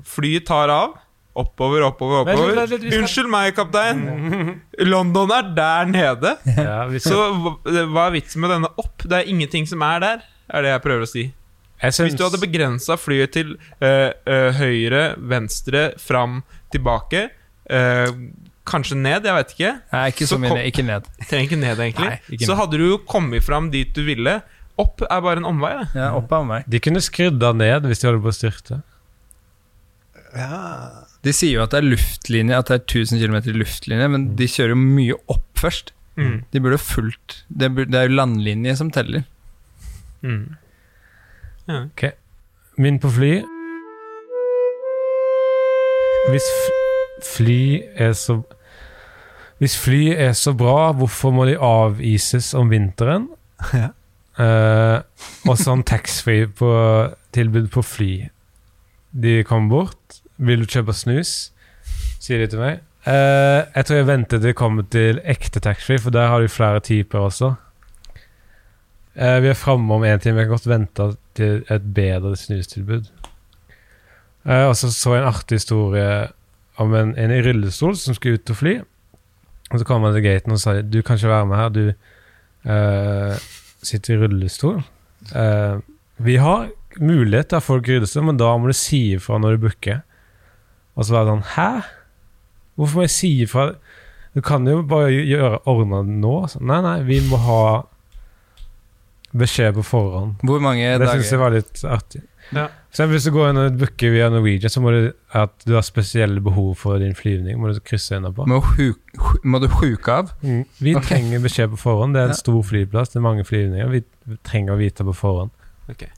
[SPEAKER 3] Flyet tar av. Oppover,
[SPEAKER 1] Mhm.
[SPEAKER 3] oppover,
[SPEAKER 1] Vent litt,
[SPEAKER 3] oppover.
[SPEAKER 1] vent litt, vi skal- Mhm.
[SPEAKER 3] Unnskyld meg, kaptein! London er der nede.
[SPEAKER 1] ja vi
[SPEAKER 3] Så
[SPEAKER 1] skal.
[SPEAKER 3] hva hva er vitsen med denne opp? Det er ingenting som er der, er det jeg prøver å si.
[SPEAKER 1] Jeg
[SPEAKER 3] Hvis
[SPEAKER 1] syns
[SPEAKER 3] du hadde begrensa flyet til eh, eh, høyre, venstre, fram, tilbake eh, Kanskje ned, jeg vet ikke.
[SPEAKER 4] Nei, ikke
[SPEAKER 3] Så
[SPEAKER 4] så mye
[SPEAKER 3] kom-
[SPEAKER 4] ned. Ikke ned.
[SPEAKER 3] Trenger ikke ned, egentlig.
[SPEAKER 4] Nei, ikke
[SPEAKER 3] så
[SPEAKER 4] ned.
[SPEAKER 3] hadde du jo kommet fram dit du ville. Opp er bare en omvei. det.
[SPEAKER 4] Ja, opp av meg.
[SPEAKER 1] De kunne skrudd av ned hvis de hadde bare styrte.
[SPEAKER 4] De sier jo at det er luftlinje, at det er 1000 km luftlinje, men de kjører jo mye opp først.
[SPEAKER 3] Mm.
[SPEAKER 4] De burde jo fulgt det, bur- det er jo landlinje som teller.
[SPEAKER 3] Mm.
[SPEAKER 1] Min på fly. Hvis f- fly er så Hvis fly er så bra, hvorfor må de avises om vinteren?
[SPEAKER 2] Ja.
[SPEAKER 1] Eh, og sånn taxfree-tilbud på fly. De kommer bort. Vil du kjøpe snus? Sier de til meg. Eh, jeg tror jeg venter til jeg kommer til ekte taxfree, for der har de flere typer også. Eh, vi er framme om én time. Jeg kan godt vente til et bedre snustilbud. Eh, og så så jeg en artig historie om en, en i rullestol som skulle ut og fly. Og så kom han til gaten og sa de, du kan ikke være med her, du eh, sitter i rullestol. Eh, vi har mulighet til å ha folk i rullestol, men da må du si ifra når du booker. Og så var det sånn Hæ? Hvorfor må jeg si ifra? Du kan jo bare gjøre ordne det nå. Så, nei, nei, vi må ha beskjed på forhånd.
[SPEAKER 4] Hvor mange
[SPEAKER 1] Det
[SPEAKER 4] dager?
[SPEAKER 1] syns jeg var litt artig.
[SPEAKER 3] Ja.
[SPEAKER 1] Så Hvis du går inn og booker via Norwegian, så må du at du har spesielle behov for din flyvning. må du krysse under på.
[SPEAKER 4] Må, hu- hu- må du huke av?
[SPEAKER 1] Mm. Vi
[SPEAKER 4] Ok.
[SPEAKER 1] trenger beskjed på forhånd. Det er en
[SPEAKER 4] Ja.
[SPEAKER 1] stor flyplass, det er mange flyvninger. Vi trenger å vite på forhånd.
[SPEAKER 4] Det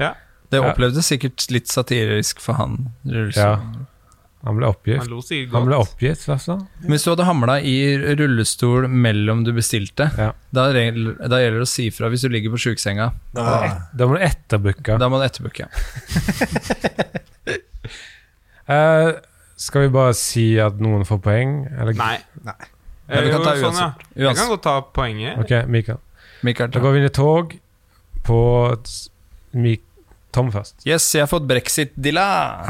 [SPEAKER 1] Ja.
[SPEAKER 4] opplevdes sikkert litt satirisk for han. Rulsen.
[SPEAKER 1] Ja. Han ble oppgitt.
[SPEAKER 3] Han lo sikkert
[SPEAKER 1] Han ble
[SPEAKER 3] godt.
[SPEAKER 1] oppgitt, i hvert fall.
[SPEAKER 4] Men hvis du hadde hamla i rullestol mellom du bestilte,
[SPEAKER 1] Ja.
[SPEAKER 4] da, regel, da gjelder det å si fra hvis du ligger på sjukesenga.
[SPEAKER 2] Ah.
[SPEAKER 1] Da må du etterbooke.
[SPEAKER 4] Da må du etterbooke.
[SPEAKER 1] Eh, skal vi bare si at noen får poeng? Eller?
[SPEAKER 3] Nei.
[SPEAKER 2] Nei.
[SPEAKER 4] Ja, vi
[SPEAKER 3] Eh,
[SPEAKER 4] kan ta
[SPEAKER 3] sånn, ja. Jeg kan
[SPEAKER 4] Uansett,
[SPEAKER 3] godt ta poenget.
[SPEAKER 1] Ok, Mikael.
[SPEAKER 4] Mikael.
[SPEAKER 1] Da
[SPEAKER 4] ta-
[SPEAKER 1] går vi inn i tog på s- Mik Tom først.
[SPEAKER 4] Yes, jeg har fått brexit-dilla!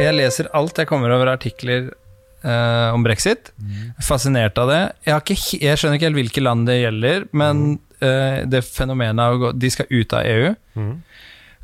[SPEAKER 4] Jeg leser alt jeg kommer over av artikler eh, om brexit.
[SPEAKER 3] Mm.
[SPEAKER 4] Fascinert av det. Jeg, har ikke, he- jeg skjønner ikke helt hvilke land det gjelder, men
[SPEAKER 3] Mm.
[SPEAKER 4] eh, det fenomenet av å gå De skal ut av EU.
[SPEAKER 1] Mm.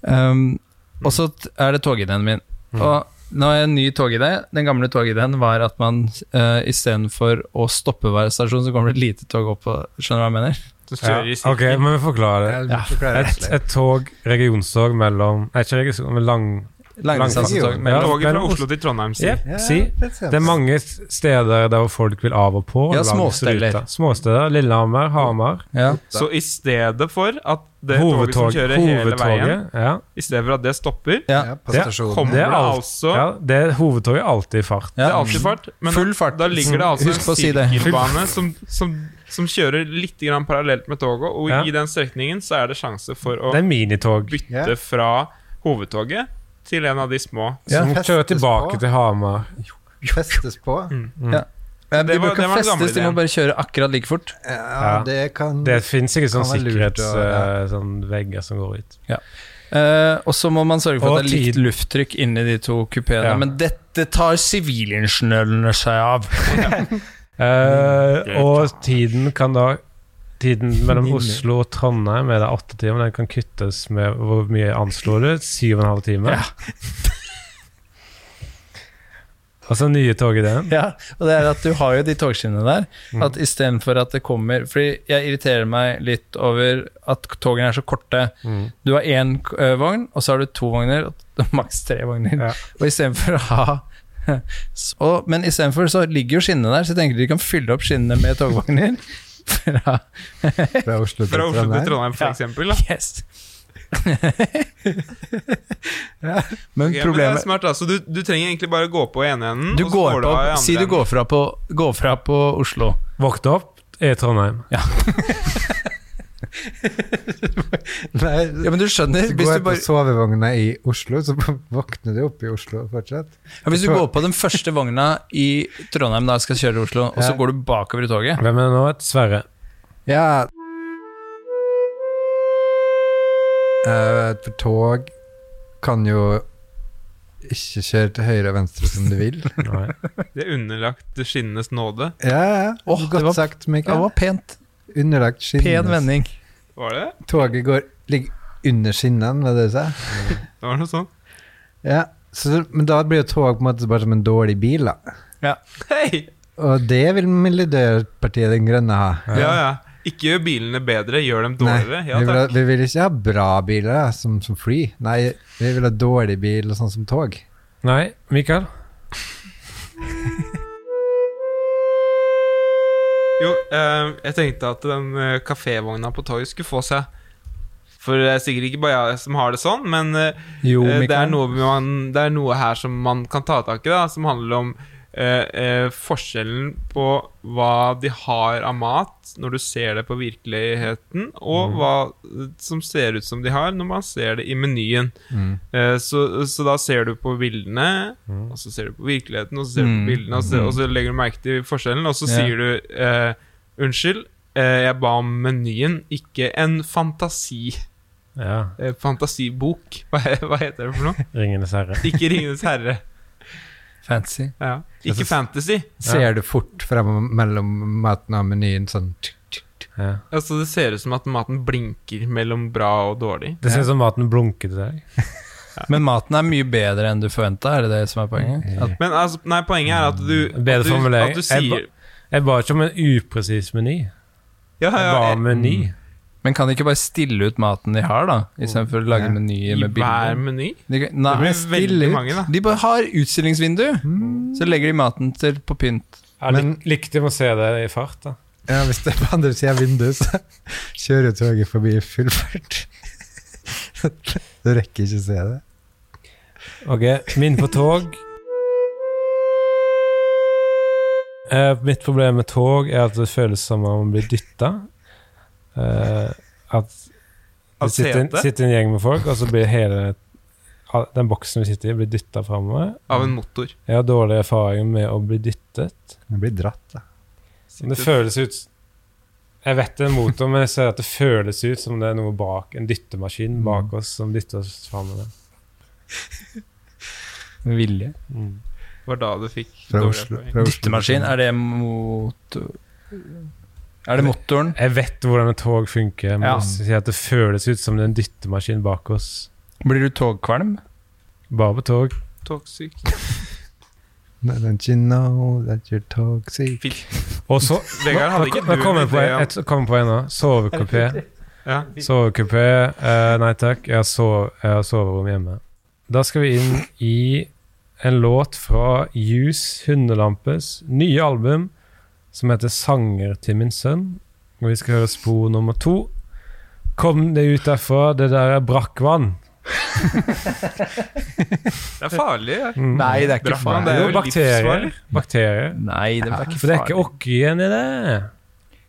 [SPEAKER 4] Um, og så t- er det togideen min.
[SPEAKER 3] Mm.
[SPEAKER 4] Og nå har jeg en ny togidé. Den gamle togideen var at man uh, istedenfor å stoppe hver stasjon, så kommer det et lite tog opp og Skjønner du hva jeg mener?
[SPEAKER 3] Så
[SPEAKER 1] Ja.
[SPEAKER 3] kjører i
[SPEAKER 1] Ok,
[SPEAKER 3] sirkel.
[SPEAKER 1] men vi forklarer det.
[SPEAKER 2] Jeg må forklare
[SPEAKER 1] Et,
[SPEAKER 2] det.
[SPEAKER 1] et tog, regionstog mellom Nei, ikke regionstog, men lang...
[SPEAKER 4] Langdistansetog.
[SPEAKER 2] Langdistansetog.
[SPEAKER 4] mellom-
[SPEAKER 3] Toget fra
[SPEAKER 1] mellom
[SPEAKER 3] Oslo til Trondheim, si.
[SPEAKER 1] Jep,
[SPEAKER 2] Ja,
[SPEAKER 1] si.
[SPEAKER 2] det ser
[SPEAKER 1] Det er
[SPEAKER 2] jeg.
[SPEAKER 1] mange s- steder der hvor folk vil av og på.
[SPEAKER 4] Ja,
[SPEAKER 1] langs
[SPEAKER 4] småsteder.
[SPEAKER 1] ruta. Småsteder. Lillehammer, Hamar.
[SPEAKER 4] Ja.
[SPEAKER 3] Så i stedet for at det toget som
[SPEAKER 1] Hovedtog,
[SPEAKER 3] kjører hele veien,
[SPEAKER 1] hovedtoget. Ja.
[SPEAKER 3] i stedet for at det stopper,
[SPEAKER 4] Ja.
[SPEAKER 2] Ja, på
[SPEAKER 1] Det
[SPEAKER 2] stasjonen.
[SPEAKER 3] kommer
[SPEAKER 1] Det
[SPEAKER 3] det,
[SPEAKER 1] er alt-
[SPEAKER 3] altså
[SPEAKER 1] ja, det hovedtoget er alltid i fart.
[SPEAKER 3] Det er
[SPEAKER 4] Ja.
[SPEAKER 3] alltid fart, men
[SPEAKER 4] Full fart.
[SPEAKER 3] da ligger det altså
[SPEAKER 4] Husk på å
[SPEAKER 3] en
[SPEAKER 4] si det.
[SPEAKER 3] sirkelbane som, som, som kjører litt grann parallelt med toget, og
[SPEAKER 1] Ja.
[SPEAKER 3] i den strekningen så er det sjanse for å
[SPEAKER 1] Det er minitog
[SPEAKER 2] Ja.
[SPEAKER 3] bytte fra hovedtoget til en av de små.
[SPEAKER 4] Ja,
[SPEAKER 1] som
[SPEAKER 2] festes
[SPEAKER 1] kjører tilbake
[SPEAKER 2] på.
[SPEAKER 1] til Hamar.
[SPEAKER 2] Festes på.
[SPEAKER 4] Ja.
[SPEAKER 3] Det
[SPEAKER 4] Eh, De
[SPEAKER 3] var-
[SPEAKER 4] bør
[SPEAKER 3] det
[SPEAKER 4] ikke
[SPEAKER 3] var den gamle
[SPEAKER 4] festes, de må
[SPEAKER 3] ideen.
[SPEAKER 4] bare kjøre akkurat like fort.
[SPEAKER 2] Ja,
[SPEAKER 1] Ja.
[SPEAKER 2] det kan
[SPEAKER 1] Det finnes sikkert sånn
[SPEAKER 2] Kan være lurt
[SPEAKER 1] sikkerhets...
[SPEAKER 2] å- ja.
[SPEAKER 1] eh, sånn vegger som går ut.
[SPEAKER 4] Eh, og så må man sørge for
[SPEAKER 1] Og
[SPEAKER 4] at det er likt
[SPEAKER 1] tid.
[SPEAKER 4] lufttrykk inni de to kupeene.
[SPEAKER 1] Ja.
[SPEAKER 4] Men dette tar sivilingeniørene seg av.
[SPEAKER 1] Eh,
[SPEAKER 3] Det
[SPEAKER 1] og tiden kan da Tiden mellom
[SPEAKER 2] Nydelig.
[SPEAKER 1] Oslo og Trondheim er da åtte timer. men Den kan kuttes med hvor mye anslo du? Syv og en halv time?
[SPEAKER 4] Ja.
[SPEAKER 1] Altså nye togideen.
[SPEAKER 4] Ja, og det er at du har jo de togskinnene der.
[SPEAKER 1] Mm.
[SPEAKER 4] At istedenfor at det kommer Fordi jeg irriterer meg litt over at togene er så korte.
[SPEAKER 1] Mm.
[SPEAKER 4] Du har én ø, vogn, og så har du to vogner, og maks tre vogner.
[SPEAKER 1] Ja.
[SPEAKER 4] Og istedenfor å ha så, Men istedenfor så ligger jo skinnene der, så jeg tenker de kan fylle opp skinnene med togvogner. Fra
[SPEAKER 2] fra Oslo til
[SPEAKER 3] Fra Oslo til
[SPEAKER 2] Trondheim.
[SPEAKER 3] Trondheim, for
[SPEAKER 4] Ja.
[SPEAKER 3] eksempel. Da.
[SPEAKER 4] Yes. Men
[SPEAKER 3] Ok, men det er
[SPEAKER 4] problemet
[SPEAKER 3] smart, da. Så du, du trenger egentlig bare gå på ene enden,
[SPEAKER 4] du
[SPEAKER 3] Mm. og så
[SPEAKER 4] går
[SPEAKER 3] går du av i
[SPEAKER 4] på,
[SPEAKER 3] andre
[SPEAKER 4] Si du
[SPEAKER 3] enden.
[SPEAKER 4] går fra på, går fra på Oslo.
[SPEAKER 1] Våkne opp er Trondheim.
[SPEAKER 2] Nei,
[SPEAKER 4] Ja, men du skjønner,
[SPEAKER 2] Hvis du
[SPEAKER 4] hvis
[SPEAKER 2] går
[SPEAKER 4] du,
[SPEAKER 2] på
[SPEAKER 4] bare,
[SPEAKER 2] sovevogna i Oslo, så våkner du opp i Oslo fortsatt.
[SPEAKER 4] ja, hvis du går på den første vogna i Trondheim da jeg skal kjøre til Oslo, og så
[SPEAKER 2] Ja.
[SPEAKER 4] går du bakover i toget
[SPEAKER 1] Hvem er det nå? Et Sverre.
[SPEAKER 2] Ja Eh, For tog kan jo ikke kjøre til høyre og venstre som du vil.
[SPEAKER 1] Nei.
[SPEAKER 3] Det er underlagt skinnenes nåde.
[SPEAKER 2] Ja, ja.
[SPEAKER 4] Åh, det
[SPEAKER 2] Godt
[SPEAKER 4] var-
[SPEAKER 2] sagt,
[SPEAKER 4] Ja, Det
[SPEAKER 2] Mikael.
[SPEAKER 4] var pent.
[SPEAKER 2] Underlagt
[SPEAKER 4] Pen
[SPEAKER 2] skinnene.
[SPEAKER 4] vending.
[SPEAKER 3] Var det det?
[SPEAKER 2] Toget går, ligger under skinnene, var det du sa?
[SPEAKER 3] Det var noe sånt.
[SPEAKER 2] Ja. Så, men da blir jo tog på en måte bare som en dårlig bil, da.
[SPEAKER 3] Hei!
[SPEAKER 2] Og det vil Miljøpartiet Den Grønne ha.
[SPEAKER 3] Ja, ja. Ikke gjør bilene bedre, gjør dem dårligere. Ja,
[SPEAKER 2] vi, vil ha,
[SPEAKER 3] takk.
[SPEAKER 2] vi vil ikke ha bra biler da, som, som fly. Nei, vi vil ha dårlig bil og sånn som tog.
[SPEAKER 1] Nei, Mikael?
[SPEAKER 3] Jo, eh, jeg tenkte at den eh, kafévogna på toget skulle få seg For det er sikkert ikke bare jeg som har det sånn, men eh,
[SPEAKER 2] Jo,
[SPEAKER 3] Eh, det, er noe man, det er noe her som man kan ta tak i, da, som handler om eh, eh, forskjellen på hva de har av mat når du ser det på virkeligheten, og hva eh, som ser ut som de har når man ser det i menyen.
[SPEAKER 2] Mm.
[SPEAKER 3] Eh, så, så da ser du på bildene, og så ser du på virkeligheten, og så ser du
[SPEAKER 4] Mm.
[SPEAKER 3] på bildene, og så, og så legger du merke til forskjellen, og så
[SPEAKER 4] Ja.
[SPEAKER 3] sier du eh, Unnskyld, eh, jeg ba om menyen, ikke en fantasi
[SPEAKER 1] Ja.
[SPEAKER 3] eh, fantasibok. Hva, hva heter det for noe?
[SPEAKER 1] Ringenes herre.
[SPEAKER 3] Ikke Ringenes herre.
[SPEAKER 4] Fancy.
[SPEAKER 3] Ja. Ikke fantasy.
[SPEAKER 2] Ser du fort frem mellom maten og menyen sånn tsk, tsk, tsk.
[SPEAKER 1] Ja.
[SPEAKER 3] Altså, det ser ut som at maten blinker mellom bra og dårlig.
[SPEAKER 1] Det ser ut som maten blunker til deg.
[SPEAKER 4] Men maten er mye bedre enn du forventa, er det det som er poenget? At,
[SPEAKER 3] Men altså, nei, poenget er at du
[SPEAKER 1] Mm. Bedre
[SPEAKER 3] at du,
[SPEAKER 1] formulering.
[SPEAKER 3] At du sier
[SPEAKER 1] Jeg Jeg ba ikke om en upresis meny.
[SPEAKER 3] ja, ja,
[SPEAKER 1] Jeg ba om
[SPEAKER 3] ja,
[SPEAKER 1] meny.
[SPEAKER 4] men kan de ikke bare stille ut maten de har, da? Istedenfor å lage
[SPEAKER 2] Ja.
[SPEAKER 3] I
[SPEAKER 4] menyer med
[SPEAKER 3] hver
[SPEAKER 4] bilder?
[SPEAKER 3] meny.
[SPEAKER 4] De kan-
[SPEAKER 3] Det
[SPEAKER 4] Nei,
[SPEAKER 3] blir veldig
[SPEAKER 2] ut.
[SPEAKER 3] mange, da.
[SPEAKER 4] de bare har utstillingsvindu! Så legger de maten til på pynt.
[SPEAKER 1] Jeg
[SPEAKER 2] Men-
[SPEAKER 1] lik, likte å se det i fart, da.
[SPEAKER 2] Ja, hvis det er på andre siden av vinduet, så kjører toget forbi i full fart. Du rekker ikke å se det.
[SPEAKER 1] Ok, min på tog. Eh, mitt problem med tog er at det føles som om man blir dytta. Eh, at
[SPEAKER 3] Av
[SPEAKER 1] det sitter, en-
[SPEAKER 3] setet?
[SPEAKER 1] sitter en gjeng med folk, og så blir hele all- den boksen vi sitter i, blir dytta framover.
[SPEAKER 3] Av en motor.
[SPEAKER 1] Jeg har dårlig erfaring med å bli dyttet.
[SPEAKER 2] Du blir dratt, da.
[SPEAKER 1] Men det føles ut Jeg vet det er en motor, men jeg ser at det føles ut som det er noe bak en dyttemaskin
[SPEAKER 3] Mm.
[SPEAKER 1] bak oss som dytter oss framover.
[SPEAKER 4] Vilje.
[SPEAKER 1] Mm.
[SPEAKER 3] var da du fikk
[SPEAKER 2] Fra
[SPEAKER 3] dårlig
[SPEAKER 2] Oslo.
[SPEAKER 3] erfaring.
[SPEAKER 2] Fra Oslo.
[SPEAKER 4] Dyttemaskin, er det mot Er det motoren?
[SPEAKER 1] Jeg vet hvordan et tog funker, men
[SPEAKER 4] Ja.
[SPEAKER 1] jeg sier at det føles ut som det er en dyttemaskin bak oss.
[SPEAKER 4] Blir du togkvalm?
[SPEAKER 1] Bare på tog.
[SPEAKER 3] Toxic.
[SPEAKER 2] No, Don't you know that you're toxic?
[SPEAKER 3] Fil-
[SPEAKER 1] Og så
[SPEAKER 3] Vegard, hadde ikke du
[SPEAKER 1] Nå kommer jeg på en,
[SPEAKER 3] en idé
[SPEAKER 1] jeg kommer på en nå. Sovekupé.
[SPEAKER 3] Ja.
[SPEAKER 1] Sovekupé. eh, nei takk, jeg har, sov, jeg har soverom hjemme. Da skal vi inn i en låt fra Juice Hundelampes nye album som heter 'Sanger til min sønn'. Og vi skal høre spor nummer to. Kom deg ut derfra, det der er brakkvann.
[SPEAKER 3] Det er farlig. Ja.
[SPEAKER 1] Mm.
[SPEAKER 4] Nei, det er ikke
[SPEAKER 3] Brakkvann,
[SPEAKER 4] farlig.
[SPEAKER 1] Det er jo bakterier.
[SPEAKER 3] livsfarlig.
[SPEAKER 1] bakterier.
[SPEAKER 4] Nei, det er ikke
[SPEAKER 1] For det er ikke
[SPEAKER 4] farlig.
[SPEAKER 1] oksygen i det.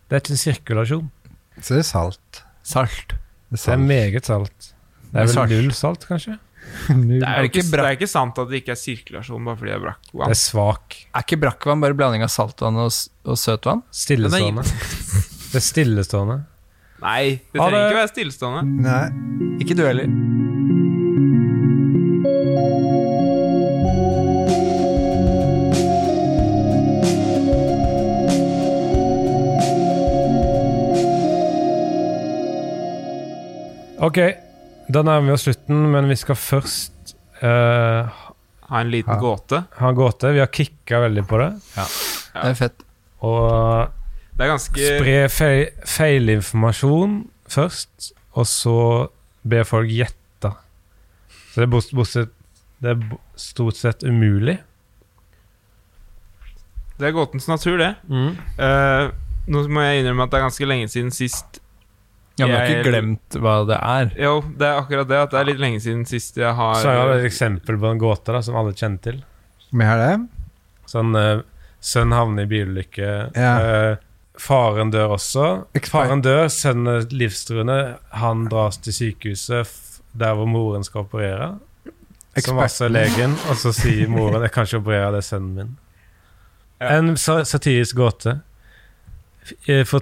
[SPEAKER 1] Det er ikke sirkulasjon.
[SPEAKER 2] Så det er salt.
[SPEAKER 4] Salt.
[SPEAKER 2] Det er
[SPEAKER 1] Det er
[SPEAKER 2] salt.
[SPEAKER 1] meget salt. Det er
[SPEAKER 4] Salt.
[SPEAKER 1] vel null salt, kanskje?
[SPEAKER 2] Nå-
[SPEAKER 3] Det er, jo ikke,
[SPEAKER 4] ikke bra.
[SPEAKER 3] det er ikke sant at det ikke er sirkulasjon bare fordi det er
[SPEAKER 1] Det
[SPEAKER 3] brakkvann.
[SPEAKER 1] er svak.
[SPEAKER 4] Er ikke brakkvann bare blanding av saltvann og, s- og søtvann?
[SPEAKER 1] Stillestående. Det er stillestående.
[SPEAKER 3] Nei, det
[SPEAKER 1] Ha
[SPEAKER 3] trenger
[SPEAKER 1] det.
[SPEAKER 3] ikke være stillestående.
[SPEAKER 2] Nei.
[SPEAKER 4] Ikke du heller.
[SPEAKER 1] Ok, da nærmer vi oss slutten, men vi skal først eh,
[SPEAKER 3] Ha en liten gåte.
[SPEAKER 1] ha en gåte. Vi har kicka veldig på det.
[SPEAKER 4] Det er fett.
[SPEAKER 1] Og
[SPEAKER 3] Det er ganske
[SPEAKER 1] spre feil, feilinformasjon først, og så be folk gjette. Så det er, bort, bortsett, det er bo- stort sett umulig.
[SPEAKER 3] Det er gåtens natur, det. Eh, nå må jeg innrømme at det er ganske lenge siden sist
[SPEAKER 4] Ja, men du har
[SPEAKER 3] Jeg-
[SPEAKER 4] ikke glemt hva det er.
[SPEAKER 3] Jo, det er akkurat det. At det er litt lenge siden sist jeg har
[SPEAKER 1] Så jeg har et eksempel på en gåte da, som alle kjenner til.
[SPEAKER 2] Vi har det.
[SPEAKER 1] Sånn eh, Sønn havner i bilulykke.
[SPEAKER 2] Ja.
[SPEAKER 1] eh, faren dør også. Faren dør, sønnen er livstruende. Han dras til sykehuset f der hvor moren skal operere. Som
[SPEAKER 2] Ekspert.
[SPEAKER 1] altså er legen, og så sier moren 'jeg kan ikke operere, det er sønnen min'.
[SPEAKER 3] Ja.
[SPEAKER 1] En sa- satirisk gåte. F- eh, For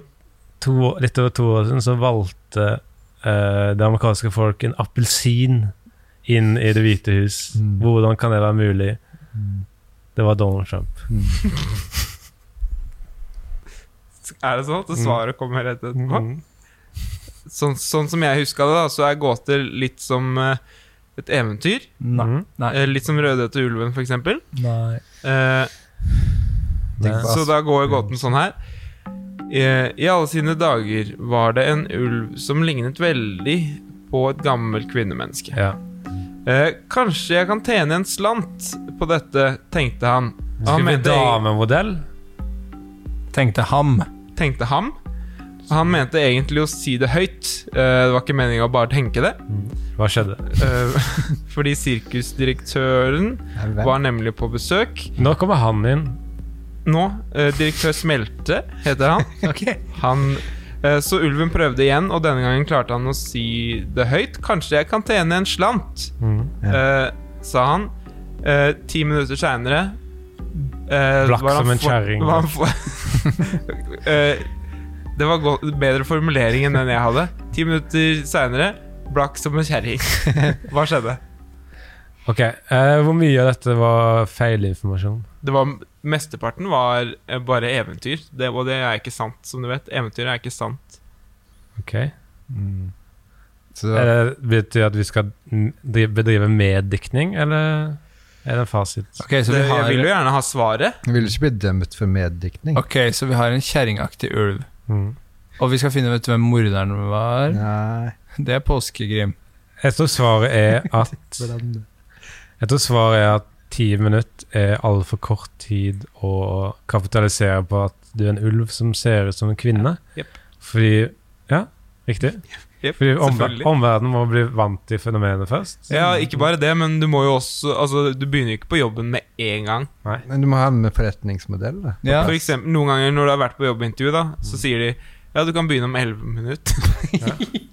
[SPEAKER 1] to, år- litt over to år siden så valgte eh, det amerikanske folk en appelsin inn i Det hvite hus.
[SPEAKER 2] Mm.
[SPEAKER 1] Hvordan kan det være mulig? Det var Donald Trump.
[SPEAKER 3] Er det sånn at det svaret kommer rett etterpå?
[SPEAKER 1] Mhm.
[SPEAKER 3] Sånn, sånn som jeg huska det, da, så er gåter litt som eh, et eventyr.
[SPEAKER 4] Nei.
[SPEAKER 1] Mhm.
[SPEAKER 4] Nei.
[SPEAKER 3] Eh, litt som Rødhette og ulven, for eksempel.
[SPEAKER 4] Nei.
[SPEAKER 3] Eh,
[SPEAKER 2] Tenk på
[SPEAKER 3] Så
[SPEAKER 2] oss.
[SPEAKER 3] da går gåten sånn her. I, I alle sine dager var det en ulv som lignet veldig på et gammelt kvinnemenneske.
[SPEAKER 1] Ja.
[SPEAKER 3] Eh, kanskje jeg kan tjene en slant på dette, tenkte han. Og
[SPEAKER 1] Skal
[SPEAKER 3] Han
[SPEAKER 1] vi bli
[SPEAKER 3] mente, eg-
[SPEAKER 1] damemodell?
[SPEAKER 4] Tenkte ham.
[SPEAKER 3] tenkte ham. Han mente egentlig å si det høyt. Eh, det var ikke meninga å bare tenke det.
[SPEAKER 1] Hva skjedde?
[SPEAKER 3] Eh, fordi sirkusdirektøren var nemlig på besøk.
[SPEAKER 1] Nå kommer han inn.
[SPEAKER 3] Nå, eh, direktør Smelte heter han. Han eh, Så ulven prøvde igjen, og denne gangen klarte han å si det høyt. 'Kanskje jeg kan tjene en slant',
[SPEAKER 1] Mm,
[SPEAKER 3] eh, sa han. Eh, ti minutter eh, seinere
[SPEAKER 1] Blakk som en kjerring.
[SPEAKER 3] Eh, Det var go- bedre formulering enn den jeg hadde. Ti minutter seinere blakk som en kjerring. Hva skjedde?
[SPEAKER 1] Ok, eh, Hvor mye av dette var feilinformasjon?
[SPEAKER 3] Det var, mesteparten var eh, bare eventyr, det, og det er ikke sant, som du vet. Eventyr er ikke sant.
[SPEAKER 1] Ok
[SPEAKER 2] Mm. Så
[SPEAKER 3] Eh,
[SPEAKER 2] det
[SPEAKER 1] Er
[SPEAKER 2] var
[SPEAKER 1] det- Betyr det at vi skal n- dri- bedrive meddiktning, eller er det en fasit?
[SPEAKER 4] Ok, så
[SPEAKER 3] Det, jeg
[SPEAKER 4] vi
[SPEAKER 3] vil jo
[SPEAKER 4] har,
[SPEAKER 3] gjerne ha svaret.
[SPEAKER 2] Jeg vil ikke bli dømt for meddiktning.
[SPEAKER 4] Ok, så vi har en kjerringaktig ulv.
[SPEAKER 1] Mhm.
[SPEAKER 4] Og vi skal finne ut hvem morderen var.
[SPEAKER 2] Nei
[SPEAKER 4] Det er påskegrim.
[SPEAKER 1] Jeg tror svaret er at Jeg tror svaret er at ti minutter er altfor kort tid å kapitalisere på at du er en ulv som ser ut som en kvinne.
[SPEAKER 3] Jep.
[SPEAKER 1] Fordi Ja, riktig.
[SPEAKER 3] Jep,
[SPEAKER 1] Fordi omver
[SPEAKER 3] selvfølgelig.
[SPEAKER 1] omverdenen må bli vant til fenomenet først.
[SPEAKER 3] Ja, ikke bare det, men du må jo også Altså, du begynner jo ikke på jobben med en gang.
[SPEAKER 2] Men du må ha med forretningsmodell, da.
[SPEAKER 4] Ja.
[SPEAKER 3] For eksempel, noen ganger når du har vært på jobbintervju, da, så sier de ja, du kan begynne om 11 minutter.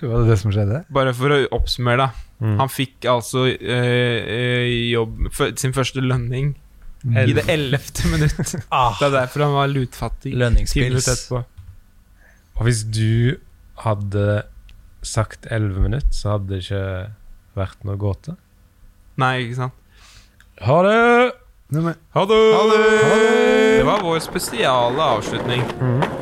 [SPEAKER 2] Var det det som skjedde?
[SPEAKER 3] Bare for å oppsummere, da.
[SPEAKER 1] Mm.
[SPEAKER 3] Han fikk altså eh, eh, jobb, f sin første lønning i det ellevte minutt. Det er derfor han var lutfattig. Ti minutter
[SPEAKER 4] Lønningspils.
[SPEAKER 3] etterpå.
[SPEAKER 1] Og hvis du hadde sagt 11 minutter, så hadde det ikke vært noe gåte.
[SPEAKER 3] Nei, ikke sant.
[SPEAKER 1] Ha det!
[SPEAKER 2] Nei, men
[SPEAKER 3] Ha det! Det var vår spesiale avslutning.